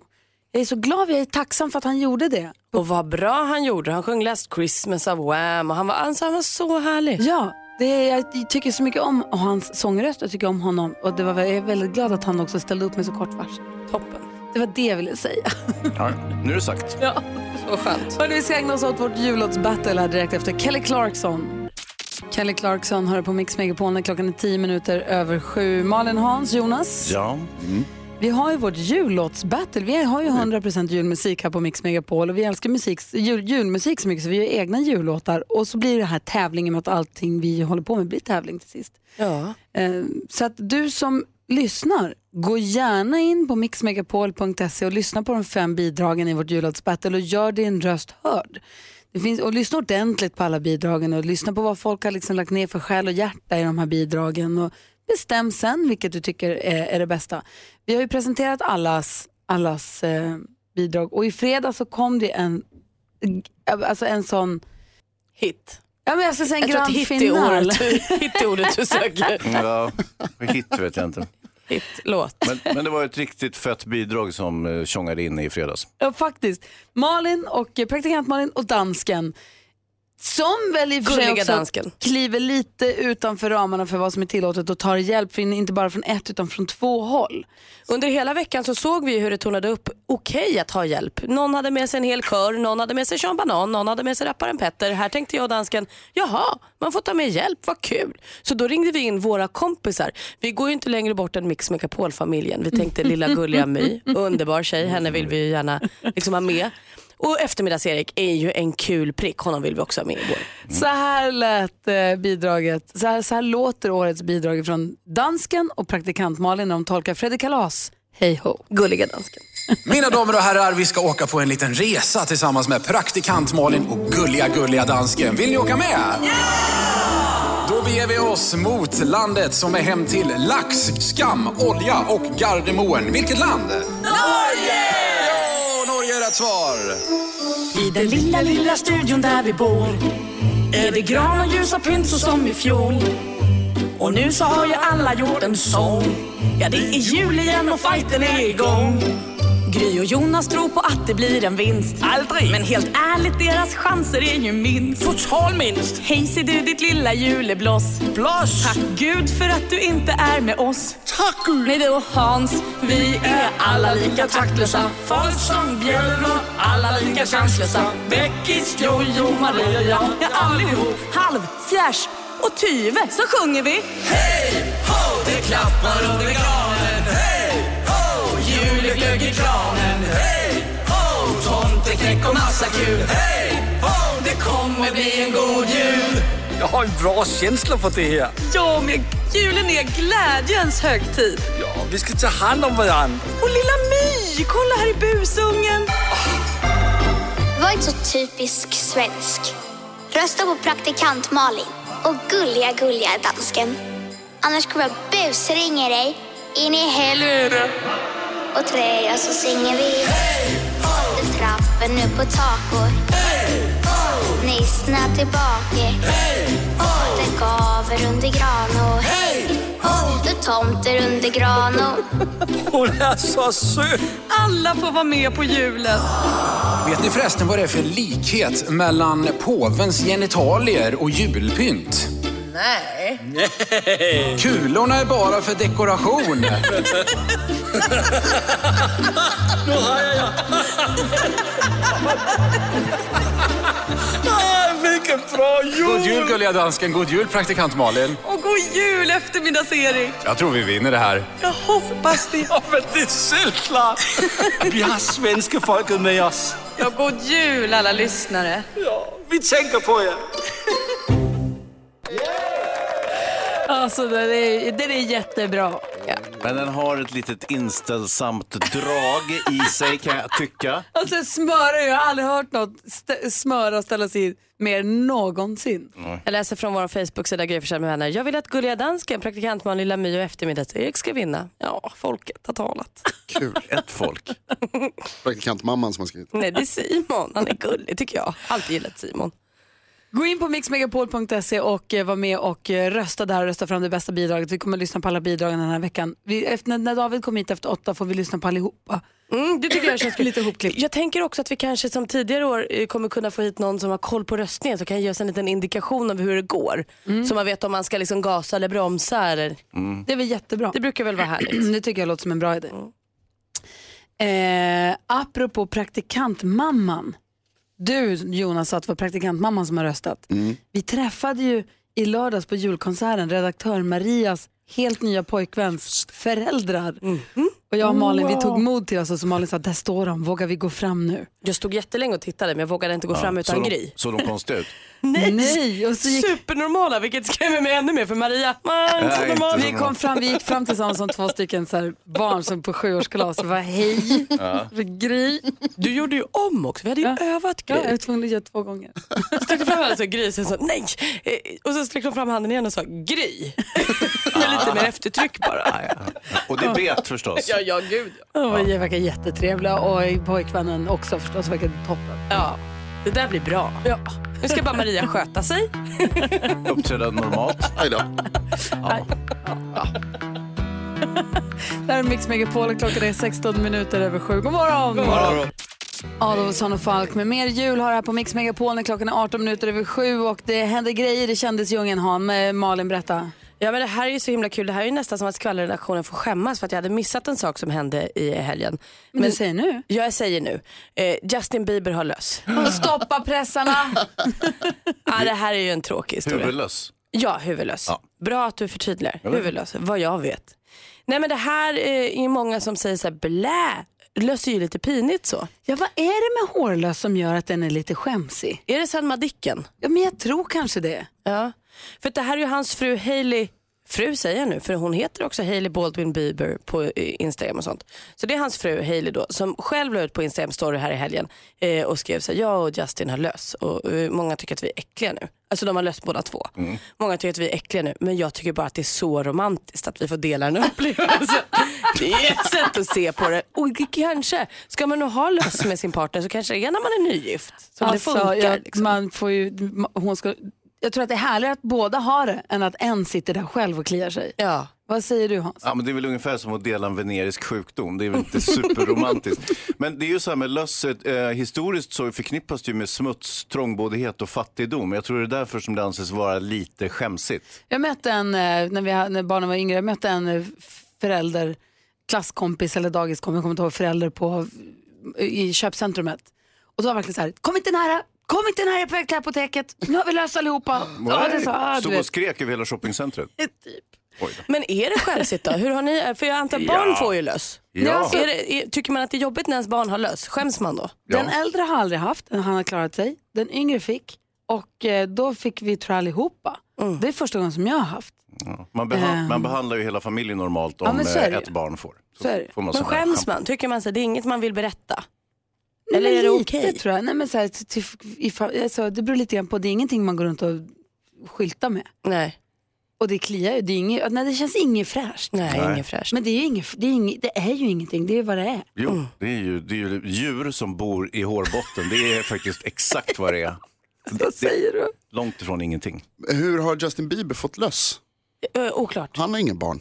[SPEAKER 1] Jag är så glad, jag är tacksam för att han gjorde det.
[SPEAKER 5] Och vad bra han gjorde. Han sjöng Last Christmas av Wham och han var, alltså, han var så härlig.
[SPEAKER 1] Ja, det är, jag tycker så mycket om hans sångröst, jag tycker om honom. Och det var, jag är väldigt glad att han också ställde upp med så kort varsel.
[SPEAKER 5] Toppen.
[SPEAKER 1] Det var det jag ville säga.
[SPEAKER 3] Ja, nu är det sagt.
[SPEAKER 1] Ja.
[SPEAKER 5] Så skönt.
[SPEAKER 1] Hörrni, vi ska ägna oss åt vårt jullåtsbattle här direkt efter Kelly Clarkson. Kelly Clarkson hör på Mix Megapol när klockan är tio minuter över sju. Malin, Hans, Jonas.
[SPEAKER 3] Ja. Mm.
[SPEAKER 1] Vi har ju vårt jullåtsbattle. Vi har ju 100% julmusik här på Mix Megapol och vi älskar musik, jul, julmusik så mycket så vi gör egna jullåtar. Och så blir det här tävlingen med att allting vi håller på med blir tävling till sist.
[SPEAKER 5] Ja.
[SPEAKER 1] Eh, Så att du som lyssnar, gå gärna in på mixmegapol.se och lyssna på de fem bidragen i vårt jullåtsbattle och gör din röst hörd. Det finns, och lyssna ordentligt på alla bidragen och lyssna på vad folk har liksom lagt ner för själ och hjärta i de här bidragen och bestäm sen vilket du tycker är, är det bästa. Vi har ju presenterat allas, allas eh, bidrag och i fredag så kom det en, alltså en sån
[SPEAKER 5] hit.
[SPEAKER 1] Ja, men jag ska säga en
[SPEAKER 5] Jag tror att
[SPEAKER 1] grand
[SPEAKER 5] hit är
[SPEAKER 1] final.
[SPEAKER 5] året du- hit är ordet du söker.
[SPEAKER 3] Ja, hit vet jag inte.
[SPEAKER 5] Låt.
[SPEAKER 3] Men, men det var ett riktigt fett bidrag som eh, tjongade in i fredags.
[SPEAKER 1] Ja, faktiskt. Malin och eh, praktikant Malin och dansken. Som väl i och för sig
[SPEAKER 5] Gulliga
[SPEAKER 1] också
[SPEAKER 5] dansken.
[SPEAKER 1] kliver lite utanför ramarna för vad som är tillåtet och tar hjälp, från, inte bara från ett utan från två håll.
[SPEAKER 5] Under hela veckan så såg vi hur det tornade upp okej att ha hjälp. Någon hade med sig en hel kör, någon hade med sig Sean Banan, någon hade med sig rapparen Petter. Här tänkte jag och dansken, jaha, man får ta med hjälp, vad kul. Så då ringde vi in våra kompisar. Vi går ju inte längre bort än Mix Megapol-familjen. Vi tänkte lilla gulliga My, underbar tjej, henne vill vi ju gärna liksom ha med. Och eftermiddags-Erik är ju en kul prick, honom vill vi också ha med i vår.
[SPEAKER 1] Så här lät eh, bidraget. Så här, så här låter årets bidrag från dansken och praktikant Malin när de tolkar Fredrik Kalas. Hej ho. Gulliga dansken.
[SPEAKER 12] Mina damer och herrar, vi ska åka på en liten resa tillsammans med praktikant Malin och gulliga, gulliga dansken. Vill ni åka med? Ja! Då beger vi oss mot landet som är hem till lax, skam, olja och Gardermoen. Vilket land? Norge! Ja, Norge är rätt svar.
[SPEAKER 6] I den lilla, lilla studion där vi bor är det gran och ljusa pynt så som i fjol. Och nu så har ju alla gjort en sång. Ja, det är jul igen och fighten är igång. Gry och Jonas tror på att det blir en vinst. Aldrig! Men helt ärligt, deras chanser är ju minst. Total minst! Hej ser du ditt lilla julebloss. Bloss! Tack Gud för att du inte är med oss. Tack Gud! Nej du och Hans, vi är alla lika taktlösa. Folk som björnar, alla lika chanslösa. Beckis, Jojo, Maria, jag, ja allihop. Halv, fjärs och tyve så sjunger vi. Hej, ho, det klappar under granen. Hej, ho, jul är glögg i kranen. Hej, ho, tomteknäck och massa kul. Hej, ho, det kommer bli en god jul.
[SPEAKER 18] Jag har en bra känsla för det här.
[SPEAKER 6] Ja, men julen är glädjens högtid.
[SPEAKER 18] Ja, vi ska ta hand om varandra.
[SPEAKER 6] Och lilla My, kolla här i busungen.
[SPEAKER 16] Var inte så typisk svensk. Rösta på praktikant Malin och gulliga, gulliga dansken. Annars kommer jag busringa dig in i helvete. Och tröja så singer vi. Upp i trappen nu på takor. Nissna tillbaka. Det gaver under gran och du tomter under gran och
[SPEAKER 18] Hon är så söt.
[SPEAKER 6] Alla får vara med på julen.
[SPEAKER 12] Vet ni förresten vad det är för likhet mellan påvens genitalier och julpynt?
[SPEAKER 6] Nej.
[SPEAKER 12] Nej. Kulorna är bara för dekoration.
[SPEAKER 6] Nu har jag ja.
[SPEAKER 18] Ah, vilken bra jul!
[SPEAKER 12] God jul gulliga dansken, god jul praktikant Malin.
[SPEAKER 6] Och god jul eftermiddags-Erik.
[SPEAKER 12] Jag tror vi vinner det här.
[SPEAKER 6] Jag hoppas det.
[SPEAKER 18] Ja, men det är självklart. Vi har svenska folket med oss.
[SPEAKER 6] Ja, god jul alla lyssnare.
[SPEAKER 18] Vi tänker på er.
[SPEAKER 1] Alltså det är, det är jättebra.
[SPEAKER 3] Men den har ett litet inställsamt drag i sig kan jag tycka.
[SPEAKER 1] Alltså smöra, jag har aldrig hört något st- smöra och ställa sig i mer än någonsin.
[SPEAKER 5] Jag läser från vår Facebook-sida Gry Forssell med vänner. Jag vill att Gulliga Dansken, praktikantman Lilla My och eftermiddags-Erik ska vinna. Ja, folket har talat.
[SPEAKER 13] Kul.
[SPEAKER 3] Ett folk.
[SPEAKER 13] Praktikantmamman som har skrivit.
[SPEAKER 5] Nej, det är Simon. Han är gullig tycker jag. Alltid gillat Simon.
[SPEAKER 1] Gå in på mixmegapol.se och eh, var med och eh, rösta där och rösta fram det bästa bidraget. Vi kommer att lyssna på alla bidragen den här veckan. Vi, efter, när- när David kommer hit efter åtta får vi lyssna på allihopa.
[SPEAKER 5] Mm, det tycker jag känns
[SPEAKER 1] lite ihopklippt.
[SPEAKER 5] Jag tänker också att vi kanske som tidigare år eh, kommer kunna få hit någon som har koll på röstningen så kan ge oss en liten indikation av hur det går. Så man vet om man ska liksom gasa eller bromsa. Eller...
[SPEAKER 1] Det är väl jättebra.
[SPEAKER 5] Det brukar väl vara härligt.
[SPEAKER 1] det tycker jag låter som en bra idé. Eh, apropå praktikantmamman. Du Jonas sa att det var praktikantmamman som har röstat. Vi träffade ju i lördags på julkonserten redaktör Marias helt nya pojkväns föräldrar.
[SPEAKER 5] Mm.
[SPEAKER 1] Och jag och Malin vi tog mod till oss och så Malin sa, där står de, vågar vi gå fram nu?
[SPEAKER 5] Jag stod jättelänge och tittade men jag vågade inte gå fram utan
[SPEAKER 3] så
[SPEAKER 5] Gry.
[SPEAKER 3] De, så de konstiga ut.
[SPEAKER 5] Nej,
[SPEAKER 1] och så gick-
[SPEAKER 5] Supernormala vilket skrämmer mig ännu mer för Maria. Man,
[SPEAKER 3] Nej,
[SPEAKER 5] så
[SPEAKER 3] inte
[SPEAKER 5] normal.
[SPEAKER 3] så
[SPEAKER 1] Vi, kom fram, vi gick fram tillsammans som två stycken så här, barn som på sjuårskalas och var hej,
[SPEAKER 3] Ja.
[SPEAKER 1] Gry.
[SPEAKER 5] Du gjorde ju om också, vi hade ju övat
[SPEAKER 1] Ja,
[SPEAKER 5] Gry.
[SPEAKER 1] jag var tvungen att göra två gånger.
[SPEAKER 5] Så sträckte fram handen så Gry sen sa nej. Eh, Och så sträckte hon fram handen igen och sa Gry. Med lite mer eftertryck bara.
[SPEAKER 3] Och det bet förstås.
[SPEAKER 5] Ja, ja, gud.
[SPEAKER 1] De verkar jättetrevliga och pojkvännen också förstås verkar toppen.
[SPEAKER 5] Ja, det där blir bra. Ja. Nu ska bara Maria sköta sig.
[SPEAKER 3] Uppträda normalt.
[SPEAKER 13] Aj då.
[SPEAKER 1] Det här är Mix Megapol och klockan är 16 minuter över sju. God morgon!
[SPEAKER 9] God morgon.
[SPEAKER 1] Adolfsson och Falk med mer jul har här på Mix Megapol när klockan är 18 minuter över sju och det händer grejer i kändisdjungeln. Han, eh, Malin berätta.
[SPEAKER 5] Ja men det här är ju så himla kul. Det här är ju nästan som att skvallerredaktionen får skämmas för att jag hade missat en sak som hände i helgen.
[SPEAKER 1] Men du säger nu?
[SPEAKER 5] Ja, jag säger nu. Eh, Justin Bieber har löss.
[SPEAKER 1] Stoppa pressarna!
[SPEAKER 5] ah, det här är ju en tråkig historia.
[SPEAKER 3] Huvudlös.
[SPEAKER 5] Ja, huvudlös. Bra att du förtydligar.
[SPEAKER 3] Jag vet.
[SPEAKER 5] Huvudlös, vad jag vet. Nej men det här eh, är många som säger så här, blä, löss är ju lite pinigt så.
[SPEAKER 1] Ja, vad är det med hårlös som gör att den är lite skämsig?
[SPEAKER 5] Är det Selma Dicken?
[SPEAKER 1] Ja, men jag tror kanske det.
[SPEAKER 5] Ja, för att det här är ju hans fru Hailey, fru säger jag nu, för hon heter också Hailey Baldwin Bieber på eh, Instagram och sånt. Så det är hans fru Hailey då som själv la ut på Instagram story här i helgen eh, och skrev så här, jag och Justin har lös och eh, många tycker att vi är äckliga nu. Alltså de har löst båda två. Många tycker att vi är äckliga nu men jag tycker bara att det är så romantiskt att vi får dela den upplevelsen. det är ett sätt att se på det. Och det kanske, ska man nog ha löss med sin partner så kanske det är när man är nygift. Som det funkar.
[SPEAKER 1] Alltså,
[SPEAKER 5] liksom.
[SPEAKER 1] jag, man får ju, ma- hon ska, jag tror att det är härligare att båda har det än att en sitter där själv och kliar sig.
[SPEAKER 5] Ja.
[SPEAKER 1] Vad säger du Hans?
[SPEAKER 3] Ja, men det är väl ungefär som att dela en venerisk sjukdom. Det är väl inte superromantiskt. men det är ju så här med lösset. Eh, historiskt så förknippas det ju med smuts, trångboddhet och fattigdom. Jag tror det är därför som det anses vara lite skämsigt.
[SPEAKER 1] Jag mötte en, eh, när, vi, ha- när barnen var yngre, jag mötte en eh, förälder, klasskompis eller dagiskompis, jag kommer inte ihåg, förälder på, eh, i köpcentrumet. Och då var det verkligen så här, kom inte nära, kom inte nära, jag är på väg till apoteket, nu har vi löst allihopa.
[SPEAKER 3] Mm.
[SPEAKER 1] Ja, det är så, ah, du
[SPEAKER 3] Stod och
[SPEAKER 1] vet.
[SPEAKER 3] skrek över hela shoppingcentret.
[SPEAKER 5] Men är det skämsigt då? Hur har ni, för jag antar att barn
[SPEAKER 3] Ja.
[SPEAKER 5] får ju löss.
[SPEAKER 3] Ja.
[SPEAKER 5] Alltså, är det, är, tycker man att det är jobbigt när ens barn har löss? Skäms man då?
[SPEAKER 1] Den äldre har aldrig haft, han har klarat sig. Den yngre fick och eh, då fick vi tror jag allihopa.
[SPEAKER 5] Mm.
[SPEAKER 1] Det är första gången som jag har haft.
[SPEAKER 3] Ja. Man, beha-
[SPEAKER 1] Ehm.
[SPEAKER 3] man behandlar ju hela familjen normalt
[SPEAKER 1] Ja,
[SPEAKER 3] om
[SPEAKER 1] men så är
[SPEAKER 3] eh,
[SPEAKER 1] det ju.
[SPEAKER 3] ett barn får.
[SPEAKER 1] Så är det.
[SPEAKER 3] får
[SPEAKER 5] Men
[SPEAKER 3] sån här
[SPEAKER 5] skäms
[SPEAKER 3] skämt.
[SPEAKER 5] man? Tycker man att det är inget man vill berätta?
[SPEAKER 1] Nej,
[SPEAKER 5] Eller
[SPEAKER 1] men
[SPEAKER 5] är det
[SPEAKER 1] lite,
[SPEAKER 5] okej?
[SPEAKER 1] tror jag. Nej, men så här, till, ifall, alltså, det beror lite grann på, det är ingenting man går runt och skyltar med.
[SPEAKER 5] Nej.
[SPEAKER 1] Och det kliar ju, det, är inget, nej, det känns inget fräscht.
[SPEAKER 5] Nej,
[SPEAKER 3] Nej. inget
[SPEAKER 5] fräscht.
[SPEAKER 1] Men det är, ju inget, det, är inget, det är ju ingenting, det är ju vad det är.
[SPEAKER 3] Jo, det är, ju, det är ju djur som bor i hårbotten. Det är faktiskt exakt vad det är.
[SPEAKER 1] Vad säger du?
[SPEAKER 3] Långt ifrån ingenting.
[SPEAKER 13] Hur har Justin Bieber fått löss?
[SPEAKER 5] Ö, Eh, oklart.
[SPEAKER 13] Han har inga barn.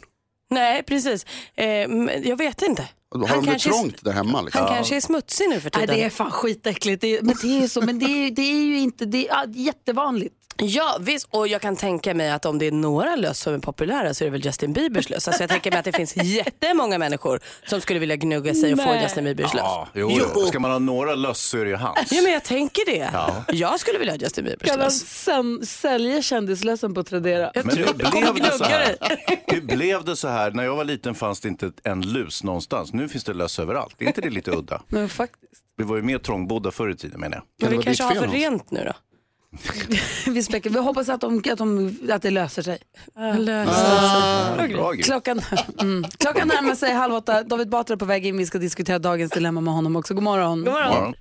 [SPEAKER 5] Nej, precis. Eh, men jag vet inte.
[SPEAKER 13] Har
[SPEAKER 5] Han
[SPEAKER 13] de det
[SPEAKER 5] kanske är-
[SPEAKER 13] trångt där hemma? Liksom?
[SPEAKER 5] Han kanske är smutsig nu för
[SPEAKER 1] Nej,
[SPEAKER 5] tiden.
[SPEAKER 1] det är fan skitäckligt, det är, men det är ju så, men det är, det är ju inte, det är ja, jättevanligt.
[SPEAKER 5] Ja visst, och jag kan tänka mig att om det är några löss som är populära så är det väl Justin Biebers löss. Alltså jag tänker mig att det finns jättemånga människor som skulle vilja gnugga sig och få
[SPEAKER 3] Nej.
[SPEAKER 5] Justin Biebers löss.
[SPEAKER 3] Ja, Alltså, jo, jo. Ska man ha några löss så är det ju hans.
[SPEAKER 5] Ja men jag tänker det.
[SPEAKER 3] Ja.
[SPEAKER 5] Jag skulle vilja ha Justin Biebers
[SPEAKER 1] Kan han
[SPEAKER 5] löss.
[SPEAKER 1] sen, sälja kändislösen på Tradera?
[SPEAKER 3] Men hur blev det så
[SPEAKER 1] gnugga
[SPEAKER 3] här? Hur blev det så här? När jag var liten fanns det inte en lus någonstans. Nu finns det löss överallt. Är inte det lite udda?
[SPEAKER 1] Men faktiskt.
[SPEAKER 3] Vi var ju mer trångbodda förr i tiden menar jag.
[SPEAKER 5] Men vi kanske har för rent nu då?
[SPEAKER 1] vi, spekar, vi hoppas att, de, att, de, att det löser sig.
[SPEAKER 9] löser sig. Bra, Gry.
[SPEAKER 1] Klockan, mm, klockan närmar sig halv åtta. David Batra är på väg in. Vi ska diskutera dagens dilemma med honom också. God morgon.
[SPEAKER 9] God morgon.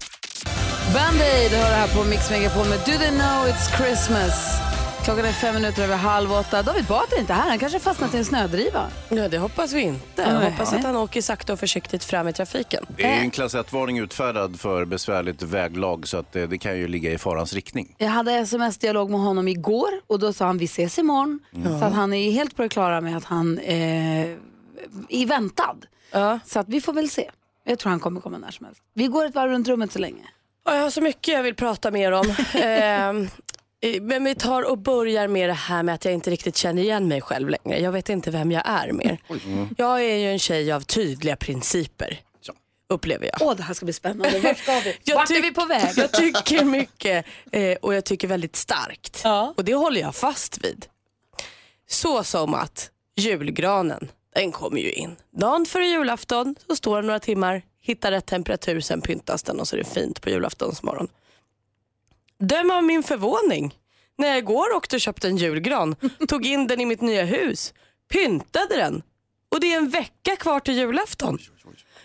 [SPEAKER 1] Band-Aid hör det här på Mix Megapol med Do They Know It's Christmas. Klockan är fem minuter över halv åtta. David Batra är inte här. Han kanske har fastnat i en snödriva.
[SPEAKER 5] Ja, det hoppas vi inte.
[SPEAKER 1] Nej.
[SPEAKER 5] Jag hoppas att han åker sakta och försiktigt fram i trafiken.
[SPEAKER 3] Det är ju en klass 1-varning utfärdad för besvärligt väglag så att eh, det kan ju ligga i farans riktning.
[SPEAKER 1] Jag hade sms-dialog med honom igår och då sa han vi ses imorgon.
[SPEAKER 3] Mm.
[SPEAKER 1] Så att han är ju helt på det klara med att han eh, är väntad. Så att vi får väl se. Jag tror han kommer komma när som helst. Vi går ett varv runt rummet så länge.
[SPEAKER 5] Ja, Jag har så mycket jag vill prata med er om. Ehm, eh, Men vi tar och börjar med det här med att jag inte riktigt känner igen mig själv längre. Jag vet inte vem jag är mer. Jag är ju en tjej av tydliga principer, upplever jag.
[SPEAKER 1] Åh, det här ska bli spännande. Vart ska vi?
[SPEAKER 5] Jag
[SPEAKER 1] Vart är
[SPEAKER 5] tyck-
[SPEAKER 1] vi på väg?
[SPEAKER 5] Jag tycker mycket eh, och jag tycker väldigt starkt. Och det håller jag fast vid. Så som att julgranen, den kommer ju in. Dagen före julafton så står den några timmar, hittar rätt temperatur, sen pyntas den och så är det fint på julaftonsmorgon. Döm av min förvåning när jag igår åkte och köpte en julgran, tog in den i mitt nya hus, pyntade den och det är en vecka kvar till julafton.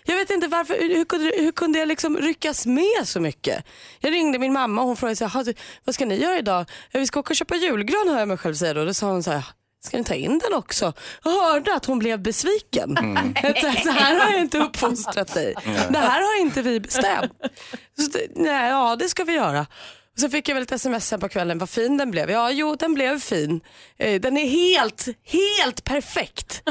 [SPEAKER 5] Jag vet inte varför, hur kunde, hur kunde jag liksom ryckas med så mycket? Jag ringde min mamma och hon frågade så här, "Ha, du, vad ska ni göra idag? "Ja, Vi ska åka och köpa julgran hör jag mig själv säga då. Då sa hon så här, ska ni ta in den också? Jag hörde att hon blev besviken.
[SPEAKER 19] Mm.
[SPEAKER 5] Att Så här har jag inte uppfostrat dig.
[SPEAKER 19] Nej.
[SPEAKER 5] Det här har inte vi bestämt. Så, det- nej, ja, det ska vi göra. Och så fick jag väl ett sms sen på kvällen, vad fin den blev. Ja, jo, den blev fin. Eh, Den är helt, helt perfekt.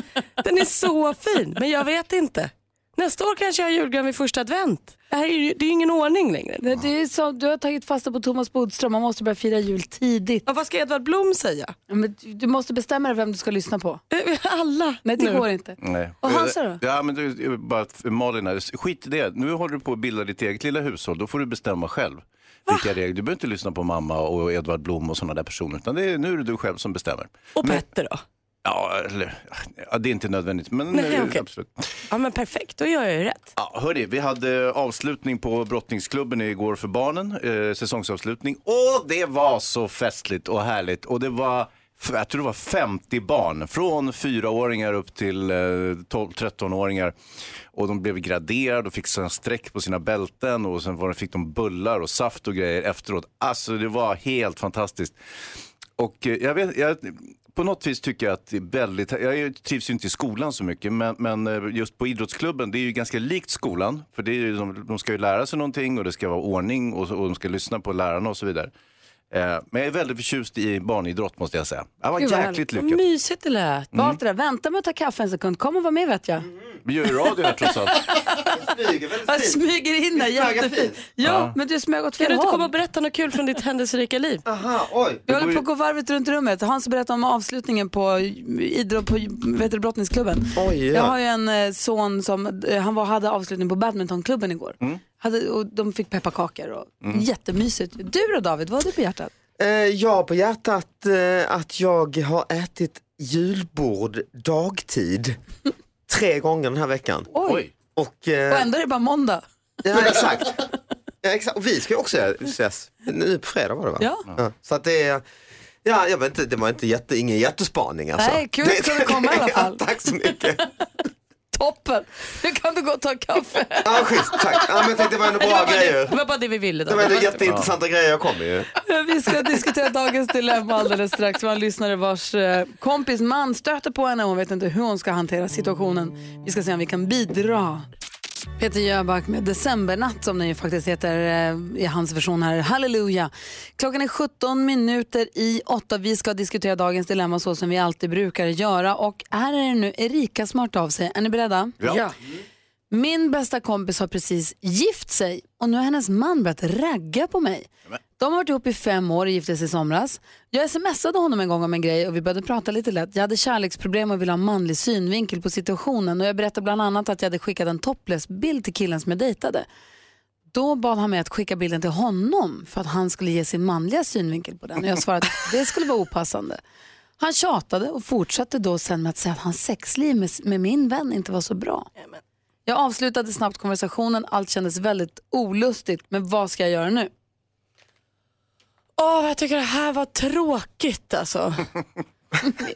[SPEAKER 5] Den är så fin, men jag vet inte. Nästa år kanske jag har julgran vid första advent. Det, här är ju, det är ju ingen ordning längre.
[SPEAKER 1] Nej, det är så, du har tagit fasta på Thomas Bodström. Man måste börja fira jul tidigt.
[SPEAKER 5] Ja, vad ska Edvard Blom säga?
[SPEAKER 1] Men du- du måste bestämma dig vem du ska lyssna på.
[SPEAKER 5] Alla.
[SPEAKER 1] Nej, det
[SPEAKER 3] nu.
[SPEAKER 1] går inte.
[SPEAKER 3] Nej. Eh,
[SPEAKER 1] Och Hansa då?
[SPEAKER 3] Ja, men du, bara för Malin här. Skit i det. Nu håller du på att bilda ditt eget lilla hushåll. Då får du bestämma själv vilka regler. Du behöver inte lyssna på mamma och Edvard Blom och sådana där personer. Utan det är, nu är det du själv som bestämmer.
[SPEAKER 5] Och Petter då?
[SPEAKER 3] Ja, eller, ja, det är inte nödvändigt. Men
[SPEAKER 5] Nej,
[SPEAKER 3] eh,
[SPEAKER 5] okej.
[SPEAKER 3] absolut.
[SPEAKER 5] Ja, men perfekt, då gör jag ju rätt.
[SPEAKER 3] Ja, hörni, vi hade avslutning på brottningsklubben igår för barnen, eh, säsongsavslutning. Och det var så festligt och härligt. Och det var, f- jag tror det var 50 barn, från fyraåringar upp till eh, 12-13-åringar. Och de blev graderade och fick sina streck på sina bälten och sen var, fick de bullar och saft och grejer efteråt. Alltså det var helt fantastiskt. Och eh, jag vet, jag, på något vis tycker jag att det är väldigt, jag är ju- trivs ju inte i skolan så mycket, men, men eh, just på idrottsklubben, det är ju ganska likt skolan, för det är ju, de, de ska ju lära sig någonting och det ska vara ordning och, så- och de ska lyssna på lärarna och så vidare. Eh, men jag är väldigt förtjust i barnidrott måste jag säga. Jag var
[SPEAKER 1] Gud, vad
[SPEAKER 3] jäkligt
[SPEAKER 1] härligt.
[SPEAKER 3] lyckad.
[SPEAKER 1] Vad mysigt det lät.
[SPEAKER 3] Mm.
[SPEAKER 1] Batra, vänta med att ta kaffe en sekund. Kom och var med vet jag.
[SPEAKER 3] Vi gör ju radio här trots allt.
[SPEAKER 1] Jag smyger in där jättefint. Ja,
[SPEAKER 3] Ja.
[SPEAKER 1] men du smög åt fel
[SPEAKER 5] Kan du inte
[SPEAKER 1] håll.
[SPEAKER 5] komma och berätta något kul från ditt händelserika liv?
[SPEAKER 20] Ah.
[SPEAKER 3] Aha, oj.
[SPEAKER 1] Vi håller på att gå varvet runt rummet. Hans berättar om avslutningen på, idrott, på vet du, brottningsklubben.
[SPEAKER 19] ja.
[SPEAKER 1] Jag har ju en eh, son som eh, han var, hade avslutning på badmintonklubben igår. Hade, och de fick pepparkakor och
[SPEAKER 20] Mm.
[SPEAKER 1] jättemysigt. Du då David, vad har du på hjärtat?
[SPEAKER 20] Eh, jag har på hjärtat eh, att jag har ätit julbord dagtid tre gånger den här veckan.
[SPEAKER 1] Oj.
[SPEAKER 20] Och, eh,
[SPEAKER 1] Och ändå är det bara måndag.
[SPEAKER 20] Ja, exakt. Ja, exakt. Och vi ska ju också ses nu på fredag var det va?
[SPEAKER 1] Ja.
[SPEAKER 20] Så att det är, ja jag vet inte, det var inte jätte, ingen jättespaning alltså.
[SPEAKER 1] Nej, kul att du kunde komma i alla fall.
[SPEAKER 20] Tack så mycket.
[SPEAKER 1] Toppen! Nu kan du gå och ta kaffe.
[SPEAKER 20] Ja, schysst, tack. Ja, men jag tänkte det var ändå
[SPEAKER 5] Det
[SPEAKER 20] bra
[SPEAKER 5] var bara
[SPEAKER 20] grejer.
[SPEAKER 5] det- det var bara det vi ville. Då.
[SPEAKER 20] Det var ändå
[SPEAKER 5] Det var-
[SPEAKER 20] jätteintressanta grejer jag kom med ju.
[SPEAKER 1] Vi ska diskutera dagens dilemma alldeles strax. Vi har en lyssnare vars eh, kompis man stöter på henne och hon vet inte hur hon ska hantera situationen. Vi ska se om vi kan bidra. Peter Jöback med Decembernatt som den ju faktiskt heter eh, i hans version här. Halleluja! Klockan är 17 minuter i 8. Vi ska diskutera dagens dilemma så som vi alltid brukar göra. Och här är det nu Erika som har hört av sig. Är ni beredda? Min bästa kompis har precis gift sig och nu har hennes man börjat ragga på mig. De har varit ihop i fem år och gifte sig i somras. Jag smsade honom en gång om en grej och vi började prata lite lätt. Jag hade kärleksproblem och ville ha manlig synvinkel på situationen och jag berättade bland annat att jag hade skickat en topless-bild till killen som jag dejtade. Då bad han mig att skicka bilden till honom för att han skulle ge sin manliga synvinkel på den. Och jag svarade att det skulle vara opassande. Han tjatade och fortsatte då sen med att säga att hans sexliv med, med min vän inte var så bra. Jag avslutade snabbt konversationen, allt kändes väldigt olustigt, men vad ska jag göra nu?
[SPEAKER 5] Åh, jag tycker det här var tråkigt alltså.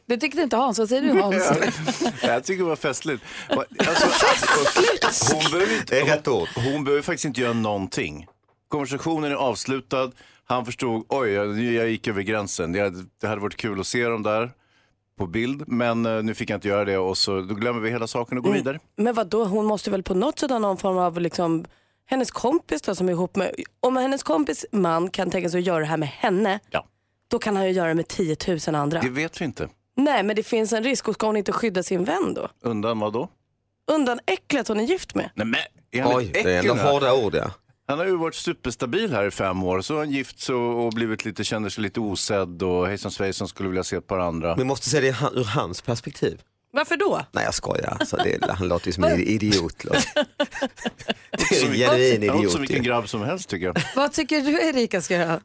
[SPEAKER 1] Det tyckte inte Hans. Vad säger du Hans?
[SPEAKER 3] Jag tycker det var festligt. Va- Alltså, hon behöver inte, hon, hon behöver faktiskt inte göra någonting. Konversationen är avslutad. Han förstod, oj, jag, jag gick över gränsen. Det hade, det hade varit kul att se dem där på bild, men eh, nu fick jag inte göra det och så då glömmer vi hela saken och går vidare.
[SPEAKER 5] Men vad då? hon måste väl på något sätt ha någon form av liksom, hennes kompis då som är ihop med, om hennes kompis man kan tänka sig att göra det här med henne, då kan han ju göra det med 10 000 andra.
[SPEAKER 3] Det vet vi inte.
[SPEAKER 5] Nej men det finns en risk och ska hon inte skydda sin vän då?
[SPEAKER 3] Undan vad då?
[SPEAKER 5] Undan äcklet hon är gift med.
[SPEAKER 3] Nej, men, är han
[SPEAKER 20] Oj,
[SPEAKER 3] ett
[SPEAKER 20] det är ändå
[SPEAKER 3] äckel här?
[SPEAKER 20] hårda ord ja.
[SPEAKER 3] Han har ju varit superstabil här i fem år, så har han gift sig och och blivit lite, känner sig lite osedd och hejsan svejsan skulle vilja se ett par andra.
[SPEAKER 20] Men måste se det i han- ur hans perspektiv.
[SPEAKER 5] Varför då?
[SPEAKER 20] Nej jag skojar, alltså, det, han låter ju som en idiot. låter. Det är en
[SPEAKER 3] Han
[SPEAKER 20] genuin
[SPEAKER 3] låter
[SPEAKER 20] idiot.
[SPEAKER 3] som
[SPEAKER 20] ju.
[SPEAKER 3] vilken grabb som helst tycker jag.
[SPEAKER 1] Vad tycker du Erika ska göra?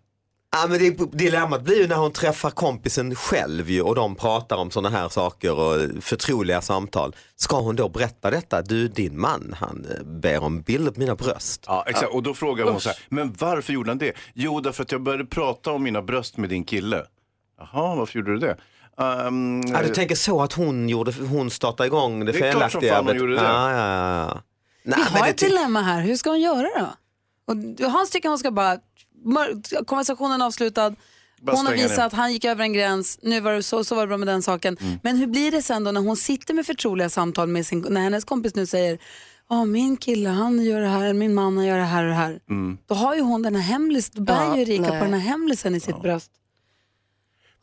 [SPEAKER 20] Ja, men det, dilemmat blir ju när hon träffar kompisen själv ju, och de pratar om sådana här saker och förtroliga samtal. Ska hon då berätta detta? Du din man han eh, ber om bild på mina bröst.
[SPEAKER 3] Ja, exakt. Och då frågar hon så här, men varför gjorde han det? Jo, därför att jag började prata om mina bröst med din kille. Jaha, varför gjorde du det? Ehm,
[SPEAKER 20] Ja, du tänker så att hon, gjorde, hon startade igång det,
[SPEAKER 3] Det är klart som
[SPEAKER 20] felaktiga?
[SPEAKER 3] fan hon
[SPEAKER 20] bet-
[SPEAKER 3] gjorde det.
[SPEAKER 20] Ja, ja, ja. Nej,
[SPEAKER 1] Vi
[SPEAKER 20] men
[SPEAKER 1] har
[SPEAKER 20] det
[SPEAKER 1] ett
[SPEAKER 20] ty-
[SPEAKER 1] dilemma här. Hur ska hon göra då? Och du- Hans tycker hon ska bara... mör- Konversationen avslutad.
[SPEAKER 5] Bara
[SPEAKER 1] Hon har
[SPEAKER 5] stänga
[SPEAKER 1] visat
[SPEAKER 5] ner. Mm.
[SPEAKER 1] att han gick över en gräns. Nu var det så, så var det bra med den saken. Men hur blir det sen då när hon sitter med förtroliga samtal med sin... När hennes kompis nu säger Ja, min kille han gör det här, min man han gör det här och det här. Då har ju hon den här hemlis, då bär
[SPEAKER 5] Mm. Ja,
[SPEAKER 1] ju Erika
[SPEAKER 5] nej.
[SPEAKER 1] på den här hemlisen i sitt bröst.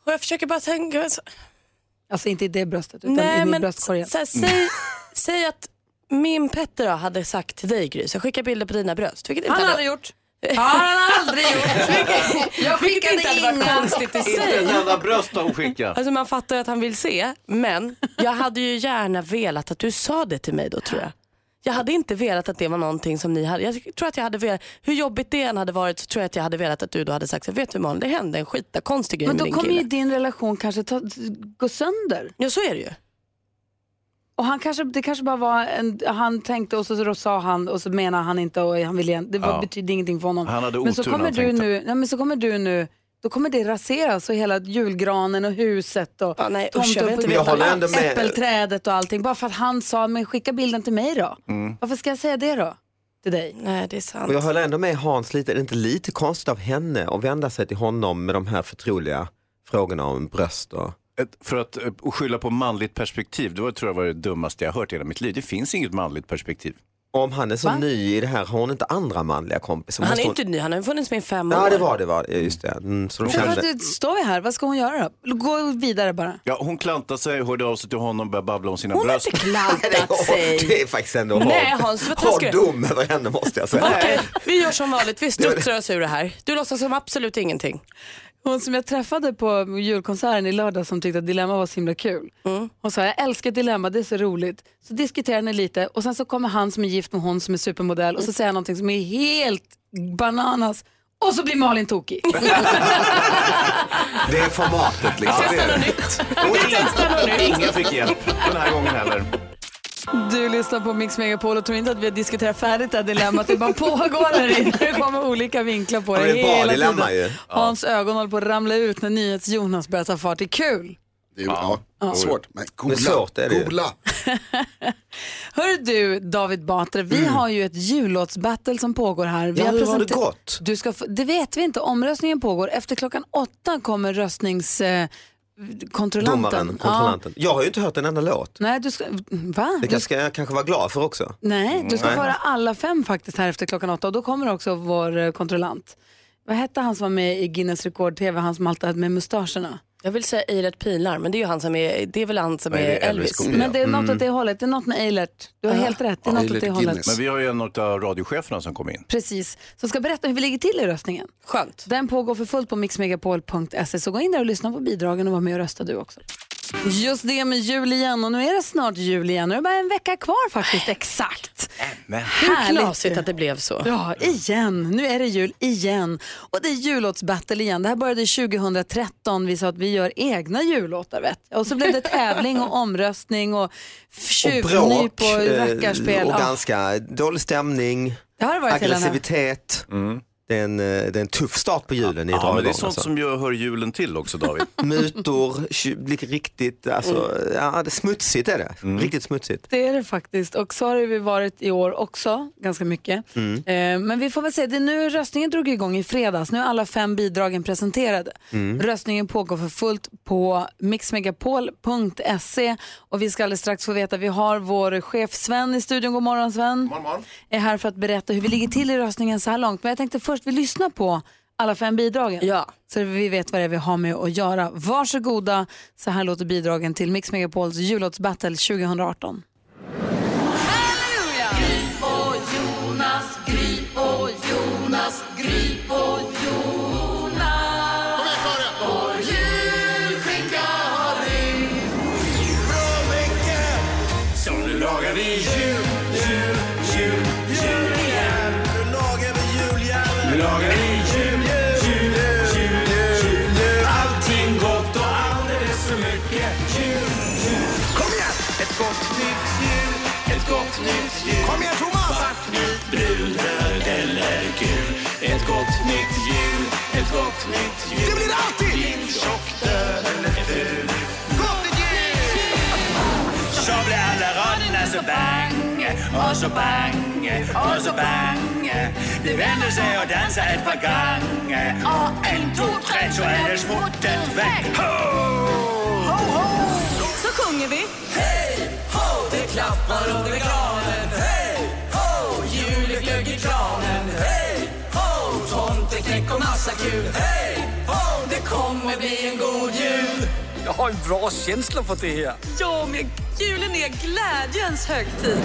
[SPEAKER 5] Och jag försöker bara tänka, så-
[SPEAKER 1] Alltså inte i det bröstet utan
[SPEAKER 5] nej
[SPEAKER 1] i
[SPEAKER 5] men
[SPEAKER 1] bröstkorgen.
[SPEAKER 5] så här, säg, säg att min Petter då hade sagt till dig Gry, så jag skickar bilder på dina bröst. Vilket inte
[SPEAKER 1] Han
[SPEAKER 5] hade-
[SPEAKER 1] aldrig gjort. Har han aldrig gjort. Jag
[SPEAKER 5] Vilket
[SPEAKER 1] skickade
[SPEAKER 5] inte hade varit
[SPEAKER 1] inga.
[SPEAKER 5] konstigt i
[SPEAKER 3] Inte
[SPEAKER 5] sig.
[SPEAKER 3] en enda bröst har hon skickat.
[SPEAKER 5] Alltså man fattar ju att han vill se, men jag hade ju gärna velat att du sa det till mig då tror jag. Jag hade inte velat att det var någonting som ni hade. Jag tror att jag hade velat, hur jobbigt det än hade varit så tror jag att jag hade velat att du då hade sagt, så här, vet du Malin, det hände en skitkonstig grej
[SPEAKER 1] Men
[SPEAKER 5] med
[SPEAKER 1] då
[SPEAKER 5] din
[SPEAKER 1] kommer
[SPEAKER 5] kille.
[SPEAKER 1] ju din relation kanske ta, gå sönder.
[SPEAKER 5] Ja, så är det ju.
[SPEAKER 1] Och han kanske, det kanske bara var en, han tänkte och så, så sa han och så menar han inte och han vill igen. Det var,
[SPEAKER 3] Ja.
[SPEAKER 1] betydde ingenting för honom.
[SPEAKER 3] Han hade
[SPEAKER 1] men så
[SPEAKER 3] otur när
[SPEAKER 1] kommer
[SPEAKER 3] han
[SPEAKER 1] du
[SPEAKER 3] tänkte.
[SPEAKER 1] nu, nej, men så kommer du nu, då kommer det raseras och hela julgranen och huset och ja,
[SPEAKER 5] nej, usch, jag vet inte. Men jag håller ändå med.
[SPEAKER 1] äppelträdet och allting. Bara för att han sa, men skicka bilden till mig då.
[SPEAKER 3] Mm.
[SPEAKER 1] Varför ska jag säga det då? Till dig?
[SPEAKER 5] Nej, det är sant.
[SPEAKER 20] Och jag håller ändå med Hans lite, är det inte lite konstigt av henne att vända sig till honom med de här förtroliga frågorna om bröst och
[SPEAKER 3] Ett- För att eh, och skylla på manligt perspektiv, det var, tror jag var det dummaste jag hört i hela mitt liv. Det finns inget manligt perspektiv.
[SPEAKER 20] om han är så
[SPEAKER 3] Va?
[SPEAKER 20] ny i det här, har hon inte andra manliga kompisar?
[SPEAKER 5] Men han är
[SPEAKER 20] Måste
[SPEAKER 5] ju
[SPEAKER 20] hon-
[SPEAKER 5] inte ny, han har ju funnits med i fem år.
[SPEAKER 20] Ja det var det, var, det. just det. Mm, så de
[SPEAKER 1] Men
[SPEAKER 20] kände...
[SPEAKER 1] vad- du- Står vi här, vad ska hon göra då? Gå vidare bara.
[SPEAKER 3] Ja, hon klantade sig, hörde av sig till honom och började babbla om sina
[SPEAKER 1] Hon har
[SPEAKER 3] bröst.
[SPEAKER 1] inte
[SPEAKER 5] klantat sig.
[SPEAKER 20] Det är faktiskt ändå
[SPEAKER 5] Nej,
[SPEAKER 20] hård-
[SPEAKER 5] Hans, vad
[SPEAKER 20] hård
[SPEAKER 5] taskig du är.
[SPEAKER 20] dom över henne måste jag säga.
[SPEAKER 5] Okej, vi gör som vanligt, vi studsar oss ur det här. Du låtsas som absolut ingenting.
[SPEAKER 1] Hon som jag träffade på julkonserten i lördag som tyckte att Dilemma var så himla kul.
[SPEAKER 20] Mm.
[SPEAKER 1] Hon sa, jag älskar Dilemma, det är så roligt. Så diskuterar ni lite och sen så kommer han som är gift med hon som är supermodell och
[SPEAKER 20] Mm.
[SPEAKER 1] så säger han någonting som är helt bananas och så blir Malin tokig.
[SPEAKER 20] Det är formatet liksom.
[SPEAKER 3] Ja, det är det. Och
[SPEAKER 1] något nytt.
[SPEAKER 3] ingen, ingen fick hjälp den här gången heller.
[SPEAKER 1] Du lyssnar på Mix Megapol och tror inte att vi har diskuterat färdigt det här dilemmat. Det bara pågår här inne. Det kommer olika vinklar på
[SPEAKER 20] Ja,
[SPEAKER 1] det,
[SPEAKER 20] det är ett
[SPEAKER 1] hela
[SPEAKER 20] bardilemma
[SPEAKER 1] tiden.
[SPEAKER 20] ju. Ja.
[SPEAKER 1] Hans ögon håller på att ramla ut när NyhetsJonas börjar ta fart. Det är kul.
[SPEAKER 13] Det är, ja.
[SPEAKER 1] Ja.
[SPEAKER 13] Svårt, men googla.
[SPEAKER 20] Men svårt är det ju.
[SPEAKER 13] googla.
[SPEAKER 1] Hör du David Batra, vi har ju ett jullåtsbattle som pågår här. Vi
[SPEAKER 20] Mm. Ja, hur har det
[SPEAKER 1] presenter-
[SPEAKER 20] gått?
[SPEAKER 1] Du ska få, det vet vi inte, omröstningen pågår. Efter klockan åtta kommer eh, röstningskontrollanten.
[SPEAKER 20] Domaren, kontrollanten. Jag har ju inte hört en enda låt.
[SPEAKER 1] Ja. Nej, du ska, va?
[SPEAKER 20] Det kanske jag kanske var glad för också.
[SPEAKER 1] Nej, du ska
[SPEAKER 20] Nej.
[SPEAKER 1] få höra alla fem faktiskt här efter klockan åtta och då kommer också vår eh, kontrollant. Vad hette han som var med i Guinness rekord-tv, han som alltid hade med mustascherna?
[SPEAKER 5] Jag vill säga Eilert Pilar, men det är ju han som är, det är väl han som är,
[SPEAKER 3] Nej, det är Elvis
[SPEAKER 5] Elvis.
[SPEAKER 3] kopia.
[SPEAKER 1] Men det är något
[SPEAKER 3] Mm.
[SPEAKER 1] åt det hållet, det är något med Eilert. Du har helt rätt, det är något åt det hållet.
[SPEAKER 3] Men vi har ju en av radiocheferna som kom in.
[SPEAKER 1] Precis, som ska berätta hur vi ligger till i röstningen.
[SPEAKER 5] Skönt.
[SPEAKER 1] Den pågår för fullt på mixmegapol.se så gå in där och lyssna på bidragen och var med och rösta du också. Just det med jul igen och nu är det snart jul igen. Nu är det bara en vecka kvar faktiskt, exakt.
[SPEAKER 3] Men
[SPEAKER 5] Hur knasigt att det blev så.
[SPEAKER 1] Ja, igen. Nu är det jul igen. Och det är jullåtsbattle igen. Det här började 2013. Vi sa att vi gör egna jullåtar. Vet. jag. Och så blev det tävling och omröstning och
[SPEAKER 20] Och bråk
[SPEAKER 1] tjuvnyp och
[SPEAKER 20] eh,
[SPEAKER 1] rackarspel.
[SPEAKER 20] och
[SPEAKER 1] Ja.
[SPEAKER 20] ganska dålig stämning,
[SPEAKER 1] Det har det varit hela den här-
[SPEAKER 20] aggressivitet. det, är en, eh, det är en tuff start på julen i
[SPEAKER 3] Mm. Ja, men det är
[SPEAKER 20] dragången,
[SPEAKER 3] sånt
[SPEAKER 20] alltså.
[SPEAKER 3] som gör, hör julen till också David.
[SPEAKER 20] Mutor, tju- lik- riktigt, alltså, ja, det är smutsigt är det. Riktigt smutsigt.
[SPEAKER 1] Det är det faktiskt. Och så har vi varit i år också, ganska mycket.
[SPEAKER 20] Mm.
[SPEAKER 1] Eh, Men vi får väl se, det är nu röstningen drog igång i fredags. Nu är alla fem bidragen presenterade.
[SPEAKER 21] Mm.
[SPEAKER 1] Röstningen pågår för fullt på mixmegapol.se och vi ska alldeles strax få veta, vi har vår chef Sven i studion. God morgon Sven. Är här för att berätta hur vi ligger till i röstningen så här långt. Men jag tänkte först vi lyssnar på alla fem bidragen. Ja. Så vi vet vad det är vi har med att göra. Varsågoda, så här låter bidragen till Mix Megapols jullåtsbattle 2018.
[SPEAKER 6] och Jonas, Gry och Jonas, Gry och Jonas. Vår julskinka har ringt. Från veckan. Så nu lagar vi jul, jul, jul, jul igen. Nu lagar vi jul, jävlar. Nu lagar vi jul, jul, jul, jul, jul. Allting gott och alldeles för mycket jul, jul. Kom igen! Ett gott nytt jul, ett gott nytt jul. Kom igen Thomas! Svart, vitt, brunröd eller gul. Ett gott nytt jul, ett gott nytt jul. Det blir det alltid! Din tjock, död eller ful. Gott nytt jul! Så blir alla raderna så bang och så bang och så bang De vänder sig och dansar ett par gånger Och en, två, tre så är det smuttet väck Ho!
[SPEAKER 22] Så sjunger vi.
[SPEAKER 6] Hej, ho! Det klappar under granen Hej, ho! Juleglögg i kranen Hej, ho! Tomteknäck och massa kul Hej, ho! Det kommer bli en god jul Jag har en bra känsla för det här.
[SPEAKER 22] Ja, men julen är glädjens högtid.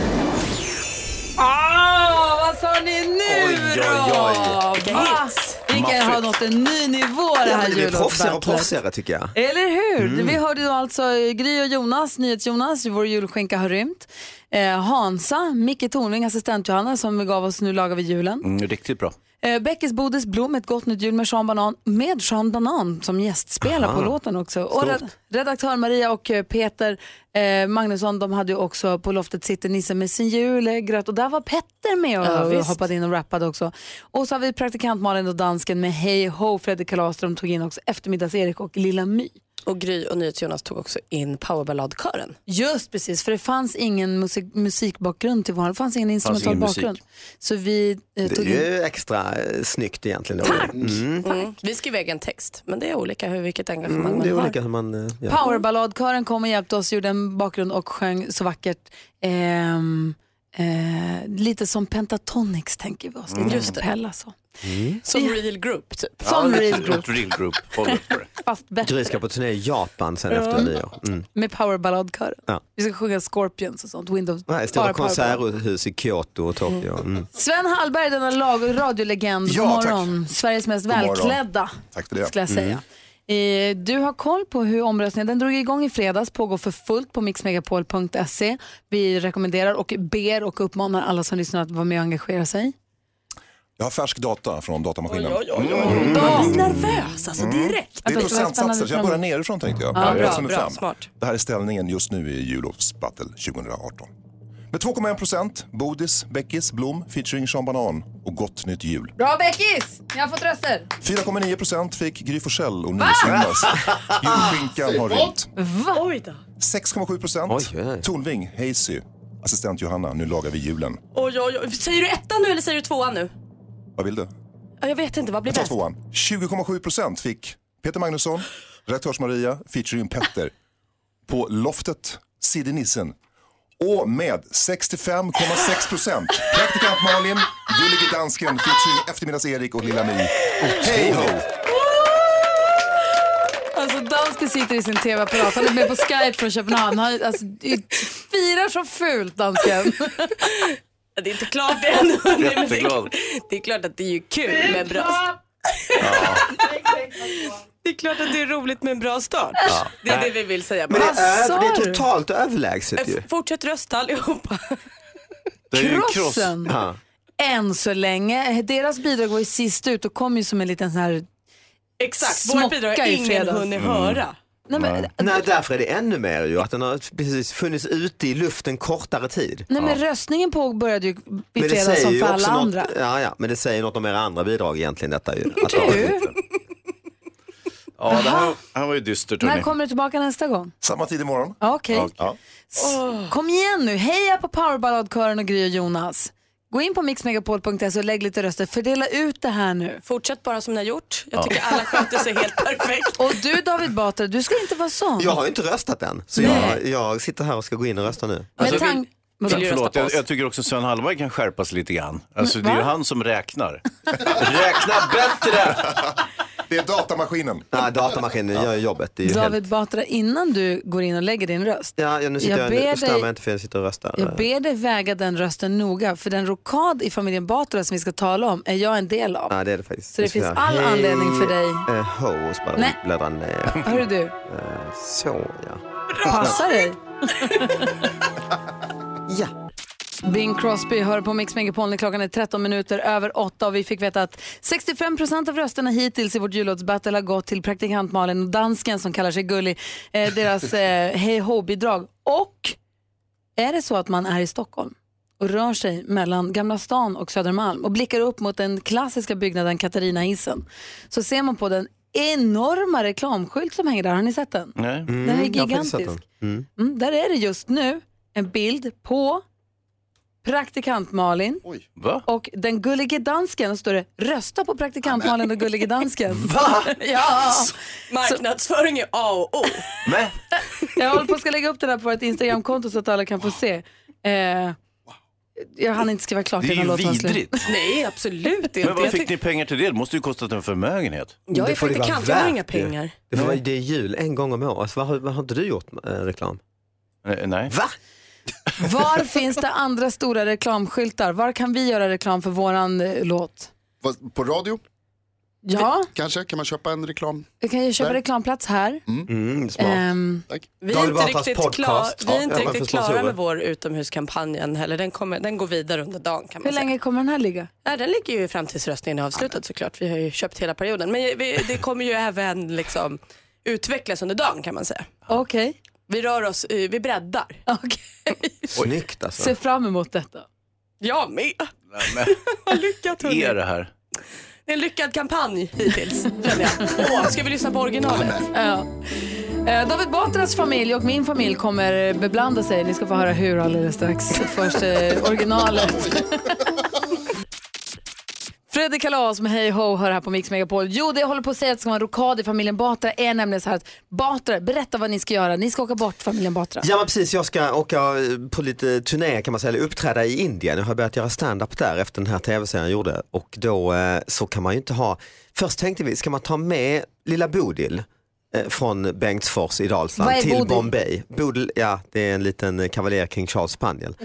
[SPEAKER 1] Ah, vad sa ni nu Ah,
[SPEAKER 6] Oj, oj, oj.
[SPEAKER 1] då?
[SPEAKER 6] Vilka
[SPEAKER 1] Va?
[SPEAKER 6] hits.
[SPEAKER 1] Vi kan ha
[SPEAKER 20] Maffigt.
[SPEAKER 1] nått en ny nivå det
[SPEAKER 20] Ja,
[SPEAKER 1] här
[SPEAKER 20] men det blir proffsigare och
[SPEAKER 1] jullåtsbattlet.
[SPEAKER 20] proffsigare tycker jag.
[SPEAKER 1] Eller hur?
[SPEAKER 20] Mm.
[SPEAKER 1] Vi hörde då alltså Gry och Jonas, NyhetsJonas, vår julskinka har rymt. Eh, Hansa, Micke Tornving, assistent-Johanna som gav oss Nu lagar vi julen.
[SPEAKER 3] Mm, riktigt bra.
[SPEAKER 1] Eh, Beckes Bodis Blom, Ett gott nytt jul med Sean Banan, med Sean Banan som gästspelar
[SPEAKER 21] Aha.
[SPEAKER 1] på låten också. Och
[SPEAKER 21] Stort.
[SPEAKER 1] red- redaktör Maria och eh, Peter eh, Magnusson, de hade ju också På loftet sitter Nisse med sin julegröt och där var Petter med och
[SPEAKER 21] Ja, visst.
[SPEAKER 1] hoppade in och rappade också. Och så har vi praktikant Malin och dansken med Hej Ho, Fredrik Karlström tog in också Eftermiddags-Erik och Lilla My.
[SPEAKER 22] Och Gry och NyhetsJonas tog också in powerballadkören.
[SPEAKER 1] Just precis, för det fanns ingen musik, musikbakgrund till vår, det fanns ingen
[SPEAKER 20] fanns
[SPEAKER 1] instrumental
[SPEAKER 20] ingen musik.
[SPEAKER 1] bakgrund. Så vi eh,
[SPEAKER 20] Det
[SPEAKER 1] tog
[SPEAKER 20] är
[SPEAKER 1] in
[SPEAKER 20] ju extra eh, snyggt egentligen. Tack! Mm.
[SPEAKER 22] Mm. Vi skrev egen text, men det är olika hur vilket engagemang
[SPEAKER 20] Mm,
[SPEAKER 22] man
[SPEAKER 20] det är
[SPEAKER 22] har.
[SPEAKER 20] olika hur man eh, gör.
[SPEAKER 1] Powerballadkören kom och hjälpte oss, gjorde en bakgrund och sjöng så vackert. Ehm, eh, lite som Pentatonix tänker vi oss, lite
[SPEAKER 22] Mm. Just
[SPEAKER 1] Just
[SPEAKER 22] det.
[SPEAKER 1] Capella så.
[SPEAKER 22] Som
[SPEAKER 1] Ja.
[SPEAKER 22] real group typ.
[SPEAKER 1] Som real group,
[SPEAKER 3] Real group.
[SPEAKER 1] fast bättre.
[SPEAKER 20] Gry ska på turné i Japan sen
[SPEAKER 1] Ja.
[SPEAKER 20] efter nyår. Mm.
[SPEAKER 1] Med powerballadkören.
[SPEAKER 20] Ja.
[SPEAKER 1] Vi ska sjunga Scorpions och sånt, Wind of
[SPEAKER 20] Nej,
[SPEAKER 1] bara
[SPEAKER 20] stora
[SPEAKER 1] powerballad.
[SPEAKER 20] konserthus i Kyoto och Tokyo. Mm.
[SPEAKER 1] Sven Hallberg, denna lag- radiolegend,
[SPEAKER 20] Ja,
[SPEAKER 1] god morgon. Sveriges mest
[SPEAKER 20] God morgon.
[SPEAKER 1] välklädda.
[SPEAKER 17] Tack för det. Mm.
[SPEAKER 1] Skulle jag säga. Eh, Du har koll på hur omröstningen, den drog igång i fredags, pågår för fullt på mixmegapol.se. Vi rekommenderar och ber och uppmanar alla som lyssnar att vara med och engagera sig.
[SPEAKER 17] Jag har färsk data från datamaskinen.
[SPEAKER 22] Jag blir nervös alltså direkt.
[SPEAKER 17] Mm. Det är procentsatser, så jag börjar nerifrån tänkte jag.
[SPEAKER 22] Ja, bra,
[SPEAKER 17] Eftersom det är
[SPEAKER 22] bra,
[SPEAKER 17] fram.
[SPEAKER 22] smart.
[SPEAKER 17] Det här är ställningen just nu i Julovs battle 2018. Med 2,1 procent, Bodis, Beckis, Blom featuring Sean Banan och Gott Nytt Jul.
[SPEAKER 1] Bra Beckis! Ni har fått röster.
[SPEAKER 17] 4,9 procent fick Gry Forssell och
[SPEAKER 1] Va?
[SPEAKER 17] NyhetsJonas. Julskinkan har rymt.
[SPEAKER 1] Va? Oj då.
[SPEAKER 17] 6,7 procent, Tornving, Hazy, assistent Johanna, nu lagar vi julen.
[SPEAKER 22] Oj, oj, oj. Säger du ettan nu eller säger du tvåan nu?
[SPEAKER 17] Vad vill du?
[SPEAKER 22] Ja, Jag vet inte, vad blir
[SPEAKER 17] Jag tar
[SPEAKER 22] bäst?
[SPEAKER 17] tvåan. 20,7 procent fick Peter Magnusson, Redaktörs-Maria, featuring Petter. På loftet, Sidde Nissen. Och med 65,6 procent, praktikant Malin, Gullige Dansken, featuring Eftermiddags-Erik och Lilla My. Hej ho!
[SPEAKER 1] Alltså dansken sitter i sin tv-apparat, han är med på Skype från Köpenhamn. Han alltså, det- firar så fult dansken.
[SPEAKER 22] Det är inte klart än. hörni, men det,
[SPEAKER 3] Jätteglad.
[SPEAKER 22] det är klart att det är ju kul med bra... Det är klart att det är roligt med en bra start.
[SPEAKER 20] Ja.
[SPEAKER 22] Det är det vi vill säga.
[SPEAKER 20] Men det
[SPEAKER 22] Vad
[SPEAKER 20] är,
[SPEAKER 22] sa
[SPEAKER 20] över, det är
[SPEAKER 22] du?
[SPEAKER 20] totalt överlägset ju.
[SPEAKER 22] Eh, Fortsätt rösta allihopa.
[SPEAKER 20] Det
[SPEAKER 1] är ju en kross. Krossen.
[SPEAKER 20] Ja.
[SPEAKER 1] Än så länge. Deras bidrag var ju sist ut och kom ju som en liten sån här
[SPEAKER 22] Exakt,
[SPEAKER 1] smocka
[SPEAKER 22] vårt bidrag har
[SPEAKER 1] i
[SPEAKER 22] ingen
[SPEAKER 1] fredags.
[SPEAKER 22] hunnit höra.
[SPEAKER 1] Nej, men,
[SPEAKER 20] Nej, därför är det ännu mer ju att den har precis funnits ute i luften kortare tid.
[SPEAKER 1] Nej, men röstningen påbörjade ju i
[SPEAKER 20] Men det
[SPEAKER 1] fredags
[SPEAKER 20] säger
[SPEAKER 1] som
[SPEAKER 20] ju
[SPEAKER 1] för alla
[SPEAKER 20] också något-
[SPEAKER 1] andra.
[SPEAKER 20] Ja, ja, men det säger något om era andra bidrag egentligen detta ju. Att det har-
[SPEAKER 3] Ja, det här, här var ju dystert.
[SPEAKER 1] När
[SPEAKER 3] hörni.
[SPEAKER 1] kommer du tillbaka nästa gång?
[SPEAKER 17] Samma tid imorgon.
[SPEAKER 1] Ja, Okej.
[SPEAKER 17] Ja.
[SPEAKER 1] S- Kom igen nu, heja på Powerballadkören och Gry och Jonas. Gå in på mixmegapol.se och lägg lite röster. Fördela ut det här nu.
[SPEAKER 22] Fortsätt bara som ni har gjort. Jag tycker alla skämt är så helt perfekt.
[SPEAKER 1] Och du David Batra, du ska inte vara sån.
[SPEAKER 20] Jag har ju inte röstat än, så jag, jag sitter här och ska gå in och rösta nu.
[SPEAKER 1] Men tank...
[SPEAKER 3] Sen, förlåt, jag, jag tycker också Sven Hallberg kan skärpas lite grann. Alltså,
[SPEAKER 1] Men,
[SPEAKER 3] det är ju
[SPEAKER 1] Mm, va?
[SPEAKER 3] han som räknar. Räkna bättre!
[SPEAKER 17] Det är datamaskinen.
[SPEAKER 20] Nej, datamaskinen gör ju jobbet. Det är ju helt...
[SPEAKER 1] David Batra, innan du går in och lägger din röst.
[SPEAKER 20] ja, ja, nu sitter
[SPEAKER 1] jag
[SPEAKER 20] jag,
[SPEAKER 1] ber
[SPEAKER 20] jag stör
[SPEAKER 1] dig-
[SPEAKER 20] mig inte för jag sitter och röstar.
[SPEAKER 1] Jag ber dig väga den rösten noga, för den rokad i familjen Batra som vi ska tala om är jag en del av.
[SPEAKER 20] Nej, det är det faktiskt.
[SPEAKER 1] Så det
[SPEAKER 20] Nu ska
[SPEAKER 1] finns
[SPEAKER 20] jag-
[SPEAKER 1] all anledning för dig.
[SPEAKER 20] Eh, ho, och så bara
[SPEAKER 1] Nej.
[SPEAKER 20] bläddra ner.
[SPEAKER 1] Hörru du,
[SPEAKER 20] Eh, så ja.
[SPEAKER 1] passa dig. ja. Bing Crosby hör på Mix Megapol när klockan är 13 minuter över 8 och vi fick veta att 65% av rösterna hittills i vårt jullåtsbattle har gått till praktikant Malin och dansken som kallar sig Gullig, eh, deras eh, hej ho-bidrag. Och är det så att man är i Stockholm och rör sig mellan Gamla stan och Södermalm och blickar upp mot den klassiska byggnaden Katarina-hissen så ser man på den enorma reklamskylt som hänger där. Har ni sett den?
[SPEAKER 3] Nej.
[SPEAKER 1] Den är gigantisk.
[SPEAKER 20] Mm.
[SPEAKER 1] Mm, där är det just nu en bild på praktikant Malin
[SPEAKER 3] Va?
[SPEAKER 1] och den gullige dansken. Och står det rösta på praktikant Malin och gullige dansken.
[SPEAKER 22] Va?
[SPEAKER 1] ja.
[SPEAKER 3] Alltså.
[SPEAKER 22] Marknadsföring är A och O.
[SPEAKER 1] Jag håller på att ska lägga upp det där på vårt Instagramkonto så att alla kan få se. Eh, jag hann inte skriva klart
[SPEAKER 3] Det är
[SPEAKER 1] innan
[SPEAKER 3] ju
[SPEAKER 1] låten var slut.
[SPEAKER 3] vidrigt.
[SPEAKER 22] Nej, absolut inte.
[SPEAKER 3] Men vad
[SPEAKER 22] Jag
[SPEAKER 3] fick ni pengar till det? Det måste ju kostat en förmögenhet.
[SPEAKER 22] Jag är Det får det praktikant, vara jag har värt inga ju. pengar.
[SPEAKER 20] Det, får, vara- det är jul en gång om året. Vad, har- vad har inte du gjort eh, reklam?
[SPEAKER 3] Nej.
[SPEAKER 20] Va?
[SPEAKER 1] Var finns det andra stora reklamskyltar? Var kan vi göra reklam för våran eh, låt?
[SPEAKER 13] Vad, På radio?
[SPEAKER 1] Ja.
[SPEAKER 13] Kanske, kan man köpa en reklam?
[SPEAKER 1] Vi kan ju köpa
[SPEAKER 13] Där.
[SPEAKER 1] reklamplats här.
[SPEAKER 20] Mm,
[SPEAKER 1] Ehm,
[SPEAKER 22] Vi är inte riktigt, klar, vi är inte riktigt klara med vår utomhuskampanj än heller. Den, kommer, den går vidare under dagen kan
[SPEAKER 1] hur
[SPEAKER 3] Alltså.
[SPEAKER 22] man säga.
[SPEAKER 1] länge kommer den här ligga?
[SPEAKER 22] Ja, den ligger ju fram tills röstningen är avslutad såklart. Vi har ju köpt hela perioden. Men vi, det kommer ju även liksom, utvecklas under dagen kan man säga.
[SPEAKER 1] Okej.
[SPEAKER 22] Vi rör oss, eh, vi breddar.
[SPEAKER 20] Snyggt alltså.
[SPEAKER 1] Se fram emot detta.
[SPEAKER 22] Jag med. Lyckat
[SPEAKER 3] Vad
[SPEAKER 22] hörni.
[SPEAKER 3] är det här?
[SPEAKER 22] Det är en lyckad kampanj hittills känner jag. Åh, ska vi lyssna på originalet?
[SPEAKER 1] Ja. Eh, David Batras familj och min familj kommer beblanda sig. Ni ska få höra hur alldeles strax. Först eh, originalet. Fredrik Kalas med Hej Ho hör här på Mix Megapol. Jo, det jag håller på att säga att det ska vara en rokad i familjen Batra är nämligen så här att Batra, berätta vad ni ska göra. Ni ska åka bort familjen Batra.
[SPEAKER 20] Ja men precis, jag ska åka på lite turné kan man säga, eller uppträda i Indien. Jag har börjat göra stand-up där efter den här tv-serien jag gjorde och då eh, så kan man ju inte ha, först tänkte vi, ska man ta med lilla Bodil eh, från Bengtsfors i
[SPEAKER 6] Vad är
[SPEAKER 20] Dalsland till
[SPEAKER 6] Bodil?
[SPEAKER 20] Bombay. Bodil, ja det är en liten eh, kavaljer kring Charles spaniel.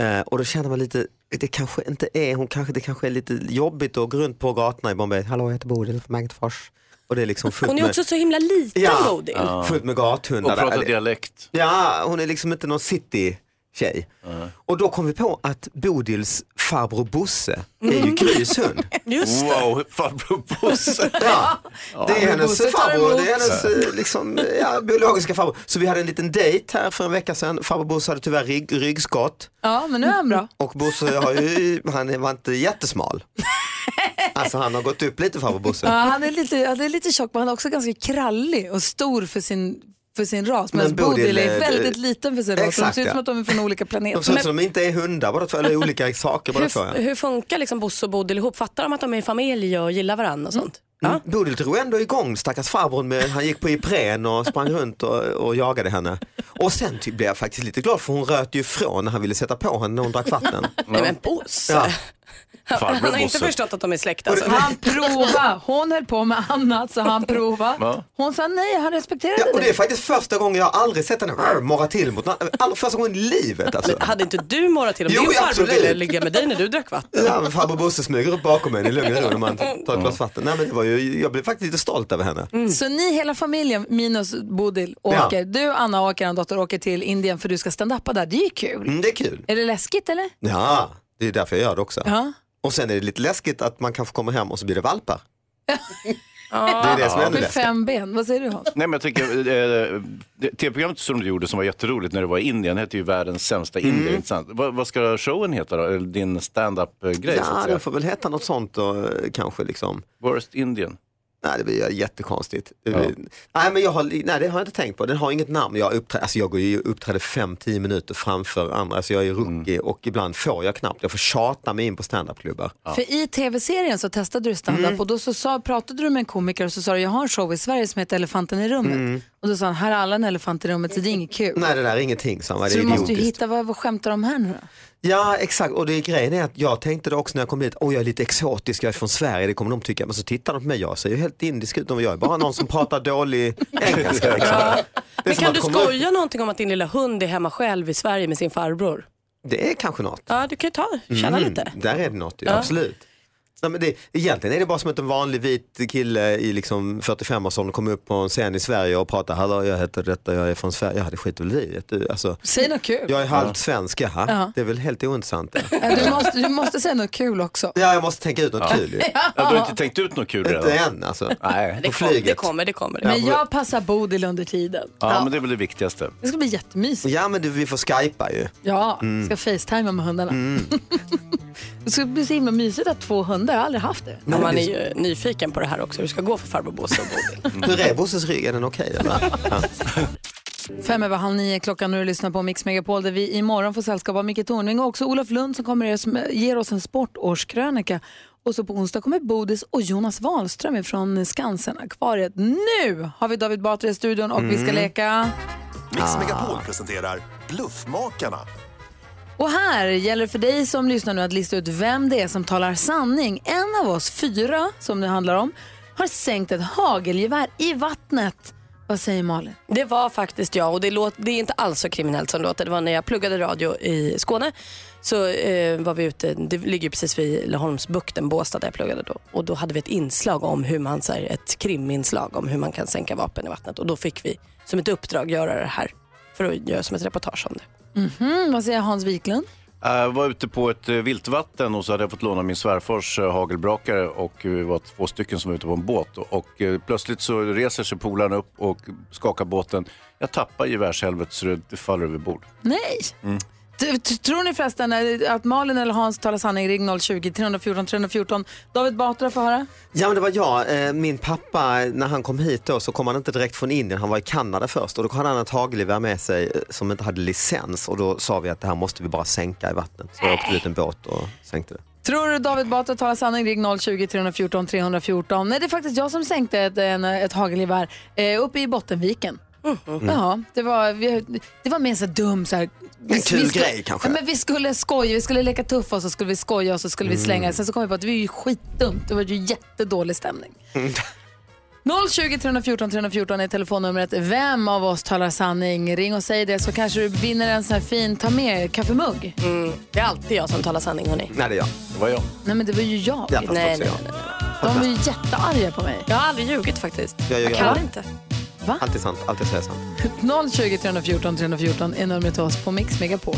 [SPEAKER 20] Eh, och då känner man lite, det kanske inte är, hon kanske, det kanske är lite jobbigt att gå runt på gatorna i Bombay, hallå jag heter Bodil från Bengtsfors. Och det är liksom fullt
[SPEAKER 22] Hon är
[SPEAKER 20] med-
[SPEAKER 22] också så himla liten Bodil.
[SPEAKER 20] Ja. Fullt med gathundar.
[SPEAKER 3] Och pratar
[SPEAKER 20] Eller-
[SPEAKER 3] dialekt.
[SPEAKER 20] Ja, hon är liksom inte någon city-tjej. Och då kom vi på att Bodils farbror Bosse är ju Grys hund.
[SPEAKER 22] Just
[SPEAKER 20] det.
[SPEAKER 3] Wow, farbror Bosse.
[SPEAKER 20] Ja, det är hennes
[SPEAKER 6] Bosse tar
[SPEAKER 20] farbror, det är
[SPEAKER 6] emot.
[SPEAKER 20] hennes eh, liksom, ja, biologiska farbror. Så vi hade en liten dejt här för en vecka sedan. Farbror Bosse hade tyvärr rygg, ryggskott
[SPEAKER 1] Ja, men nu är han bra.
[SPEAKER 20] och Bosse har ju, han var inte jättesmal. Alltså han har gått upp lite farbror Bosse.
[SPEAKER 1] Ja, han, är lite, han är lite tjock men han är också ganska krallig och stor för sin, för sin ras. Medan
[SPEAKER 20] Men Bodil
[SPEAKER 1] Bodil
[SPEAKER 20] är-
[SPEAKER 1] är väldigt liten för sin ras. Så De
[SPEAKER 20] Exakt,
[SPEAKER 1] ser ut som
[SPEAKER 20] ja.
[SPEAKER 1] att de är från olika planeter.
[SPEAKER 20] De ser ut som de inte är hundar båda två, eller olika saker båda två. ja.
[SPEAKER 22] Hur, hur funkar liksom Bosse och Bodil ihop? Fattar de att de är familj och gillar varandra och sånt?
[SPEAKER 20] Mm. Bodil drog ändå igång stackars farbrorn med, han gick på Ipren och sprang runt och, och jagade henne. Och sen ty- blev jag faktiskt lite glad för hon röt ju ifrån när han ville sätta på henne när hon drack vatten.
[SPEAKER 22] Nej men Bosse.
[SPEAKER 20] Ja.
[SPEAKER 22] Han, han
[SPEAKER 20] Farbror
[SPEAKER 22] har inte
[SPEAKER 20] Bosse.
[SPEAKER 22] förstått att de är släkt alltså.
[SPEAKER 1] Han prova. Hon höll på med annat så han prova.
[SPEAKER 20] Ja.
[SPEAKER 1] Hon sa nej, han respekterade
[SPEAKER 20] Ja, och det är
[SPEAKER 1] det.
[SPEAKER 20] faktiskt första gången jag har aldrig sett henne "Arr", morra till mot någon, allra första gången i livet alltså.
[SPEAKER 22] Men hade inte du morrat till om
[SPEAKER 20] Jo,
[SPEAKER 22] din farbror
[SPEAKER 20] absolut.
[SPEAKER 22] ville ligga med dig när du drack vatten?
[SPEAKER 20] Ja, men farbror Bosse smyger upp bakom henne i lugn och ro när man tar ett glas vatten. Nej, men det var ju, jag blev faktiskt lite stolt över henne.
[SPEAKER 1] Så ni hela familjen minus Bodil åker.
[SPEAKER 20] Mm. Ja.
[SPEAKER 1] Du, Anna åker, en dotter åker till Indien för du ska stand-upa där. Det är ju kul.
[SPEAKER 20] Mm, det är kul.
[SPEAKER 1] Är det läskigt eller?
[SPEAKER 20] Ja, det är därför jag gör det också.
[SPEAKER 1] Ja.
[SPEAKER 20] Och sen är det lite läskigt att man kanske kommer hem och så blir det valpar.
[SPEAKER 3] Det är det som händer.
[SPEAKER 1] Med fem ben. Vad säger du Hans?
[SPEAKER 3] Nej, men jag tycker, eh, det- tv-programmet som du gjorde som var jätteroligt när du var i Indien hette ju Världens sämsta
[SPEAKER 20] Mm.
[SPEAKER 3] indier. inte sant? Vad, vad ska showen heta då? Eller din stand-up-grej? så att
[SPEAKER 20] Ja,
[SPEAKER 3] säga.
[SPEAKER 20] den får väl heta något sånt då, eh, kanske. Liksom.
[SPEAKER 3] Worst Indian?
[SPEAKER 20] Nej, det blir jättekonstigt. Det blir- Nej, men jag har, nej, det har jag inte tänkt på. Den har inget namn. Jag, uppträ, alltså, jag går ju och uppträder 5-10 minuter framför andra. Alltså, jag är
[SPEAKER 3] Mm.
[SPEAKER 20] rookie och ibland får jag knappt. Jag får tjata mig in på standupklubbar.
[SPEAKER 1] För i tv-serien så testade du stand-up
[SPEAKER 20] Mm.
[SPEAKER 1] och då så sa, pratade du med en komiker och så sa du jag har en show i Sverige som heter Elefanten i rummet.
[SPEAKER 20] Mm.
[SPEAKER 1] Och då sa han, här är alla en elefant i rummet så det är inget kul.
[SPEAKER 20] Nej, det där är ingenting. Samma.
[SPEAKER 1] så
[SPEAKER 20] Det är
[SPEAKER 1] du måste ju
[SPEAKER 20] idiotiskt.
[SPEAKER 1] hitta, vad, vad skämtar de här nu då?
[SPEAKER 20] Ja exakt och det är grejen är att jag tänkte det också när jag kom dit, åh jag är lite exotisk, jag är från Sverige, det kommer de tycka. Men så tittar de på mig, jag ser ju helt indisk ut, jag är bara någon som pratar dålig engelska. Liksom. Det, är
[SPEAKER 5] Men
[SPEAKER 20] som
[SPEAKER 5] kan
[SPEAKER 20] att
[SPEAKER 5] du
[SPEAKER 20] komma upp-
[SPEAKER 5] skoja någonting om att din lilla hund är hemma själv i Sverige med sin farbror?
[SPEAKER 20] det är kanske något.
[SPEAKER 5] Ja, du kan ju ta, känna
[SPEAKER 20] Mm,
[SPEAKER 5] lite.
[SPEAKER 20] Där är det något, ja.
[SPEAKER 5] Ja.
[SPEAKER 20] absolut. Nej, men det, egentligen är det bara som att en vanlig vit kille i liksom 45-årsåldern kommer upp på en scen i Sverige och pratar, hallå jag heter detta, jag är från Sverige, ja det skiter väl vi i. Du, Alltså,
[SPEAKER 1] Säg något kul.
[SPEAKER 20] jag är halvt svensk, jaha.
[SPEAKER 1] Ja.
[SPEAKER 20] Det är väl helt ointressant. det.
[SPEAKER 1] Ja, Du måste, du måste säga något kul också.
[SPEAKER 20] Ja, jag måste tänka ut något
[SPEAKER 1] Ja.
[SPEAKER 20] kul ju.
[SPEAKER 1] Ja, du har inte
[SPEAKER 3] tänkt ut något kul
[SPEAKER 20] Inte
[SPEAKER 3] redan?
[SPEAKER 20] än alltså.
[SPEAKER 3] Nej.
[SPEAKER 20] På flyget.
[SPEAKER 5] det kommer.
[SPEAKER 1] Men jag passar Bodil under tiden.
[SPEAKER 20] Ja,
[SPEAKER 3] men det är väl det viktigaste.
[SPEAKER 1] Det ska bli jättemysigt.
[SPEAKER 20] Ja, men du, vi får skypa ju.
[SPEAKER 1] Ja,
[SPEAKER 20] Mm.
[SPEAKER 1] ska facetimea med hundarna.
[SPEAKER 20] Mm.
[SPEAKER 1] Det ska bli så himla mysigt att ha två hundar, jag har aldrig haft det.
[SPEAKER 5] Ja, man är ju nyfiken på det här också, hur det ska gå för farbror Bosse och Bodil.
[SPEAKER 20] Hur är Bosses rygg? Är den okej eller? Ja.
[SPEAKER 1] Fem över halv nio klockan nu lyssnar på Mix Megapol där vi imorgon får sällskap av Micke Tornving och också Olof Lund som kommer ge oss, ger oss en sportårskrönika. Och så på onsdag kommer Bodis och Jonas Wahlström från Skansen-akvariet. Nu har vi David Batra i studion och vi ska
[SPEAKER 23] Mm.
[SPEAKER 1] leka...
[SPEAKER 23] Mix Megapol presenterar Bluffmakarna.
[SPEAKER 1] Och här gäller det för dig som lyssnar nu att lista ut vem det är som talar sanning. En av oss fyra, som det handlar om, har sänkt ett hagelgevär i vattnet. Vad säger Malin?
[SPEAKER 5] Det var faktiskt jag och det, låt, det är inte alls så kriminellt som det låter. Det var när jag pluggade radio i Skåne. Så eh, var vi ute, det ligger ju precis vid Laholmsbukten, Båstad där jag pluggade då. Och då hade vi ett inslag om hur man, så här, ett kriminslag om hur man kan sänka vapen i vattnet. Och då fick vi som ett uppdrag göra det här. För att göra som ett reportage om det.
[SPEAKER 1] Mhm, vad säger Hans Wiklund?
[SPEAKER 3] Jag var ute på ett eh, viltvatten och så hade jag fått låna min svärfars eh, hagelbrakare och vi var två stycken som var ute på en båt. Och eh, plötsligt så reser sig polaren upp och skakar båten. Jag tappar gevärshelvetet så det faller över bord.
[SPEAKER 1] Nej!
[SPEAKER 3] Mm.
[SPEAKER 1] T- t- Tror ni förresten eh, att Malin eller Hans talar sanning? Ring 020-314 314. David Batra får höra.
[SPEAKER 20] Ja men det var jag, Eh, min pappa när han kom hit då så kom han inte direkt från Indien, han var i Kanada först och då hade han ett hagelgevär med sig eh, som inte hade licens och då sa vi att det här måste vi bara sänka i vattnet. Så jag åkte ut en båt och sänkte det.
[SPEAKER 1] Tror du David Batra talar sanning? Ring 020-314 314. Nej, det är faktiskt jag som sänkte ett, en, ett hagelgevär eh, uppe i Bottenviken. Ja, det var, vi, det var mer så här dum så här,
[SPEAKER 20] Mm. En kul
[SPEAKER 1] skulle-
[SPEAKER 20] grej, kanske.
[SPEAKER 1] Ja, men vi skulle skoja, vi skulle leka tuffa och så skulle vi skoja och så skulle vi
[SPEAKER 20] Mm.
[SPEAKER 1] slänga. Sen så kom vi på att det var ju skitdumt, det var ju jättedålig stämning.
[SPEAKER 20] Mm.
[SPEAKER 1] 020 314 314 är telefonnumret. Vem av oss talar sanning? Ring och säg det så kanske du vinner en sån här fin ta med kaffemugg.
[SPEAKER 20] Mm.
[SPEAKER 5] Mm, Det är alltid jag som talar sanning hörni.
[SPEAKER 20] Nej det är jag.
[SPEAKER 3] Det var jag.
[SPEAKER 1] Nej men det var ju jag.
[SPEAKER 5] Ja, fast Nej, också nej,
[SPEAKER 1] De är ju jättearga på mig.
[SPEAKER 5] Jag har aldrig ljugit faktiskt.
[SPEAKER 20] Jag ljuger
[SPEAKER 5] kan
[SPEAKER 20] aldrig.
[SPEAKER 5] inte.
[SPEAKER 1] Va?
[SPEAKER 20] Alltid sant, alltid säger sant.
[SPEAKER 1] 020 314 314 är numret till oss på Mix Megapol.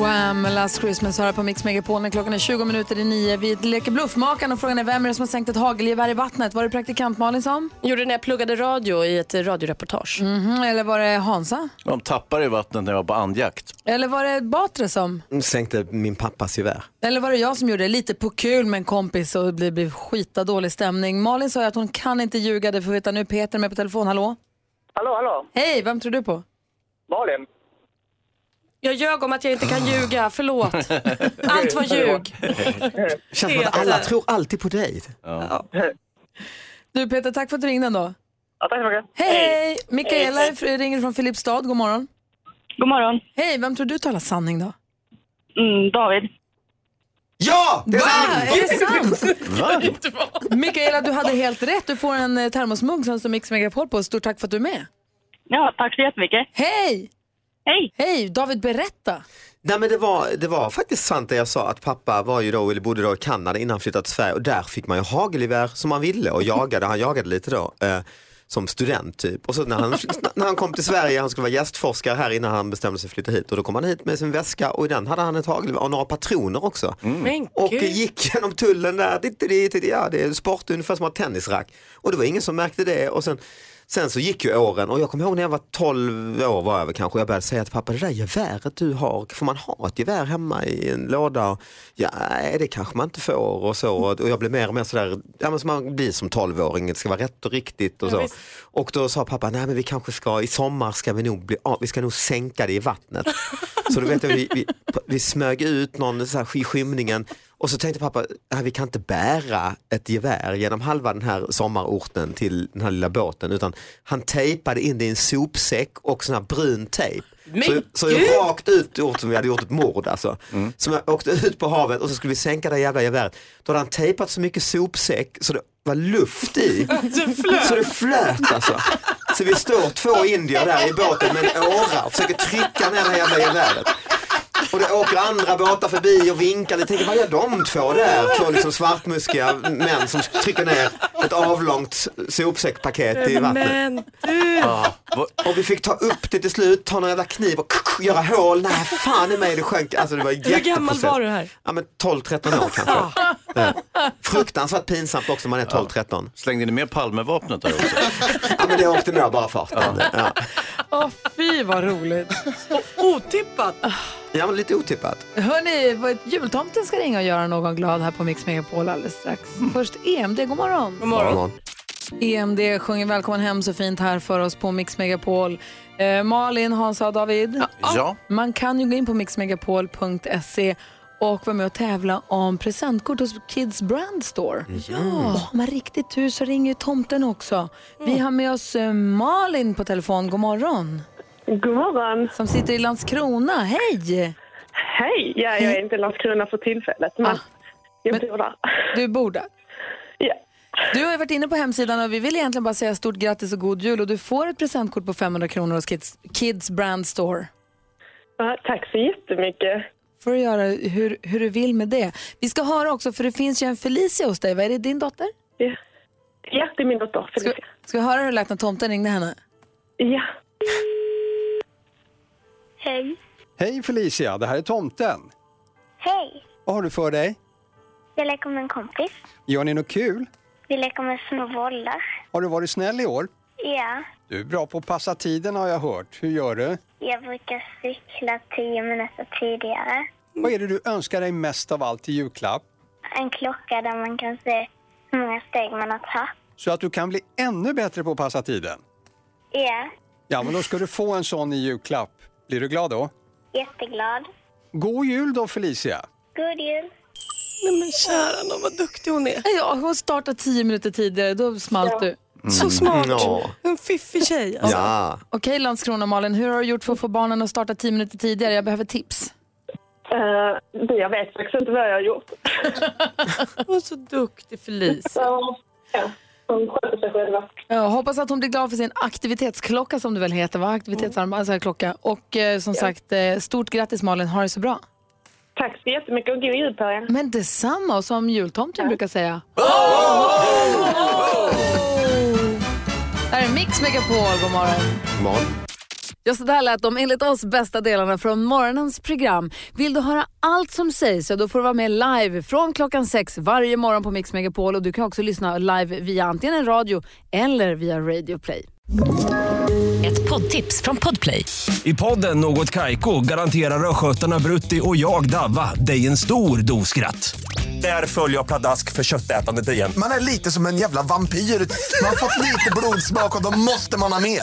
[SPEAKER 1] Wham! Last Christmas hör här på Mix Megapol när klockan är 20 minuter i nio. Vi leker bluffmakaren och frågan är vem är det som har sänkt ett hagelgevär i vattnet? Var det praktikant Malin som?
[SPEAKER 5] Gjorde det när jag pluggade radio i ett eh, radioreportage.
[SPEAKER 9] Mm.
[SPEAKER 1] Mhm, eller var det Hansa?
[SPEAKER 3] De tappade i vattnet när jag var på andjakt.
[SPEAKER 1] Eller var det Batre som?
[SPEAKER 20] Sänkte min pappas gevär.
[SPEAKER 1] Eller var det jag som gjorde det lite på kul med en kompis och det blev, blev skita dålig stämning? Malin sa ju att hon kan inte ljuga, det får vi veta nu. Peter är med på telefon, hallå?
[SPEAKER 24] Hallå, hallå.
[SPEAKER 1] Hej, vem tror du på?
[SPEAKER 24] Malin. Ah.
[SPEAKER 5] Jag ljög om att jag inte kan ljuga, förlåt. Allt var ljug.
[SPEAKER 20] Känns som att alla tror alltid på dig.
[SPEAKER 1] Du Peter, tack för att du ringde ändå.
[SPEAKER 24] Ja, tack så mycket.
[SPEAKER 1] Hej, hej! Mikaela
[SPEAKER 24] Hej.
[SPEAKER 1] fr- ringer från Filipstad, god morgon.
[SPEAKER 24] God morgon.
[SPEAKER 5] Mm.
[SPEAKER 1] Hej, vem tror du talar sanning då?
[SPEAKER 24] Mm, David.
[SPEAKER 20] Ja!
[SPEAKER 1] Det är sant! Är
[SPEAKER 24] Va?
[SPEAKER 1] det sant? Mikaela, du hade helt rätt. Du får en eh, termosmugg som står Mix Megapol på. Stort tack för att du är med.
[SPEAKER 24] Ja, tack så jättemycket.
[SPEAKER 1] Hej!
[SPEAKER 24] Hej!
[SPEAKER 1] Hej, David berätta.
[SPEAKER 20] Nej men det var, det var faktiskt sant det jag sa att pappa var ju då, eller bodde då i Kanada innan han flyttade till Sverige och där fick man ju hagelgevär som man ville och jagade, han jagade lite då. Eh, som student typ. Och så när han, när han kom till Sverige, han skulle vara gästforskare här innan han bestämde sig för att flytta hit. Och då kom han hit med sin väska och i den hade han ett hagelgevär och några patroner också.
[SPEAKER 5] Men
[SPEAKER 20] Och
[SPEAKER 5] gud.
[SPEAKER 20] gick genom tullen där, dit, dit, dit, ja, det är sport ungefär som att ha tennisrack. Och det var ingen som märkte det. Och sen, sen så gick ju åren och jag kommer ihåg när jag var 12 år var jag väl kanske, jag började säga till pappa, det där geväret du har, får man ha ett gevär hemma i en låda? Och, ja, nej, det kanske man inte får och så. Och jag blev mer och mer sådär, ja, men som man blir som 12-åring, det ska vara rätt och riktigt och
[SPEAKER 6] Ja,
[SPEAKER 20] så.
[SPEAKER 6] visst.
[SPEAKER 20] Och då sa pappa, nej men vi kanske ska, i sommar ska vi nog, bli, av- vi ska nog sänka det i vattnet. Så då vet jag, vi, vi, vi smög ut någon så här i skymningen och så tänkte pappa, nej, vi kan inte bära ett gevär genom halva den här sommarorten till den här lilla båten utan han tejpade in det i en sopsäck och sån här brun tejp.
[SPEAKER 6] Men
[SPEAKER 20] Så, så
[SPEAKER 6] gud!
[SPEAKER 20] jag rakt ut gjort som vi hade gjort ett mord alltså. Så jag åkte ut på havet och så skulle vi sänka det här jävla geväret. Då hade han tejpat så mycket sopsäck så det var luft i. Så det flöt alltså. Så vi står två indier där i båten med en åra och försöker trycka ner det här jävla geväret. Och det åker andra båtar förbi och vinkar. Jag tänker, vad gör de två där? Två liksom svartmuskiga män som trycker ner ett avlångt sopsäckpaket i vattnet.
[SPEAKER 5] Men du.
[SPEAKER 20] Och vi fick ta upp det till slut, ta någon jävla kniv och göra hål. Nej, fan i mig det sjönk. Alltså det var
[SPEAKER 5] Hur gammal
[SPEAKER 20] jätteprocess.
[SPEAKER 5] var du här? Ah.
[SPEAKER 20] Ja men 12-13 år kanske. Ja. Fruktansvärt pinsamt också när man är 12-13.
[SPEAKER 3] Slängde ni med Palmevapnet där också?
[SPEAKER 20] ja men det åkte ner bara farten. Ja.
[SPEAKER 1] Åh, fy vad roligt.
[SPEAKER 5] Otippat.
[SPEAKER 20] ja men lite otippat.
[SPEAKER 1] Hörni, vad- jultomten ska ringa och göra någon glad här på Mix Megapol alldeles strax. Först EMD, god morgon.
[SPEAKER 5] God morgon.
[SPEAKER 1] EMD sjunger Välkommen hem så fint här för oss på Mix Megapol. Eh, Malin, Hansa och David.
[SPEAKER 3] Ja.
[SPEAKER 1] Man kan ju gå in på mixmegapol.se och vara med och tävla om presentkort hos Kids Brand Store. Och har man riktigt tur så ringer ju tomten också. Vi har med oss eh, Malin på telefon. God morgon.
[SPEAKER 9] God morgon.
[SPEAKER 1] Som sitter i Landskrona. Hej!
[SPEAKER 9] Hej! Ja, jag
[SPEAKER 5] Mm.
[SPEAKER 9] är inte i Landskrona för tillfället, men
[SPEAKER 5] Ah.
[SPEAKER 9] jag bor där.
[SPEAKER 1] Du bor där? Du har ju varit inne på hemsidan och vi vill egentligen bara säga stort grattis och god jul och du får ett presentkort på 500 kronor hos Kids, Kids Brand Store.
[SPEAKER 9] Ja, tack så jättemycket.
[SPEAKER 1] Får du göra hur, hur du vill med det. Vi ska höra också, för det finns ju en Felicia hos dig. Vad är det, din dotter?
[SPEAKER 9] Ja, ja det är min dotter
[SPEAKER 1] Felicia. Ska, ska vi höra hur det lät när tomten ringde henne?
[SPEAKER 9] Ja.
[SPEAKER 25] Hej.
[SPEAKER 26] Hej Felicia, det här är tomten.
[SPEAKER 25] Hej.
[SPEAKER 26] Vad har du för dig?
[SPEAKER 25] Jag leker med en kompis.
[SPEAKER 26] Gör ni något kul?
[SPEAKER 25] Vi leker med små bollar.
[SPEAKER 26] Har du varit snäll i år?
[SPEAKER 25] Ja.
[SPEAKER 26] Du är bra på att passa tiden har jag hört. Hur gör du?
[SPEAKER 25] Jag brukar cykla tio minuter tidigare.
[SPEAKER 26] Vad är det du önskar dig mest av allt i julklapp?
[SPEAKER 25] En klocka där man kan se hur många steg man har tagit.
[SPEAKER 26] Så att du kan bli ännu bättre på att passa tiden.
[SPEAKER 25] Ja.
[SPEAKER 26] Ja, men då ska du få en sån i julklapp. Blir du glad då?
[SPEAKER 25] Jätteglad.
[SPEAKER 26] God jul då Felicia!
[SPEAKER 25] God jul.
[SPEAKER 5] Nej men kära nån, vad duktig hon är.
[SPEAKER 1] Ja, hon startade tio minuter tidigare, då smalt du.
[SPEAKER 5] Så smart.
[SPEAKER 20] Mm. Ja.
[SPEAKER 5] En fiffig tjej. Alltså.
[SPEAKER 20] Ja.
[SPEAKER 1] Okej Landskrona Malin, hur har du gjort för att få barnen att starta tio minuter tidigare? Jag behöver tips.
[SPEAKER 9] Eh, det jag vet faktiskt inte vad jag har gjort.
[SPEAKER 5] Hon är så duktig Felicia.
[SPEAKER 9] Ja, hon sköter sig själva.
[SPEAKER 1] Jag hoppas att hon blir glad för sin aktivitetsklocka som det väl heter, va? Aktivitetsarmband, alltså klocka. Och eh, som sagt, eh, stort grattis Malin, ha det så bra.
[SPEAKER 9] Tack så jättemycket och god jul på er.
[SPEAKER 1] Men detsamma, och som jultomten brukar säga. Det här är Mix Megapol, god morgon. Ja, så där lät de enligt oss bästa delarna från morgonens program. Vill du höra allt som sägs så då får du vara med live från klockan sex varje morgon på Mix Megapol och du kan också lyssna live via antingen en radio eller via Radio Play.
[SPEAKER 27] Ett poddtips från Podplay.
[SPEAKER 28] I podden Något Kaiko garanterar östgötarna Brutti och jag, Davva, dig en stor dos skratt. Där följer jag pladask för köttätandet igen.
[SPEAKER 23] Man är lite som en jävla vampyr. Man har fått lite blodsmak och då måste man ha mer.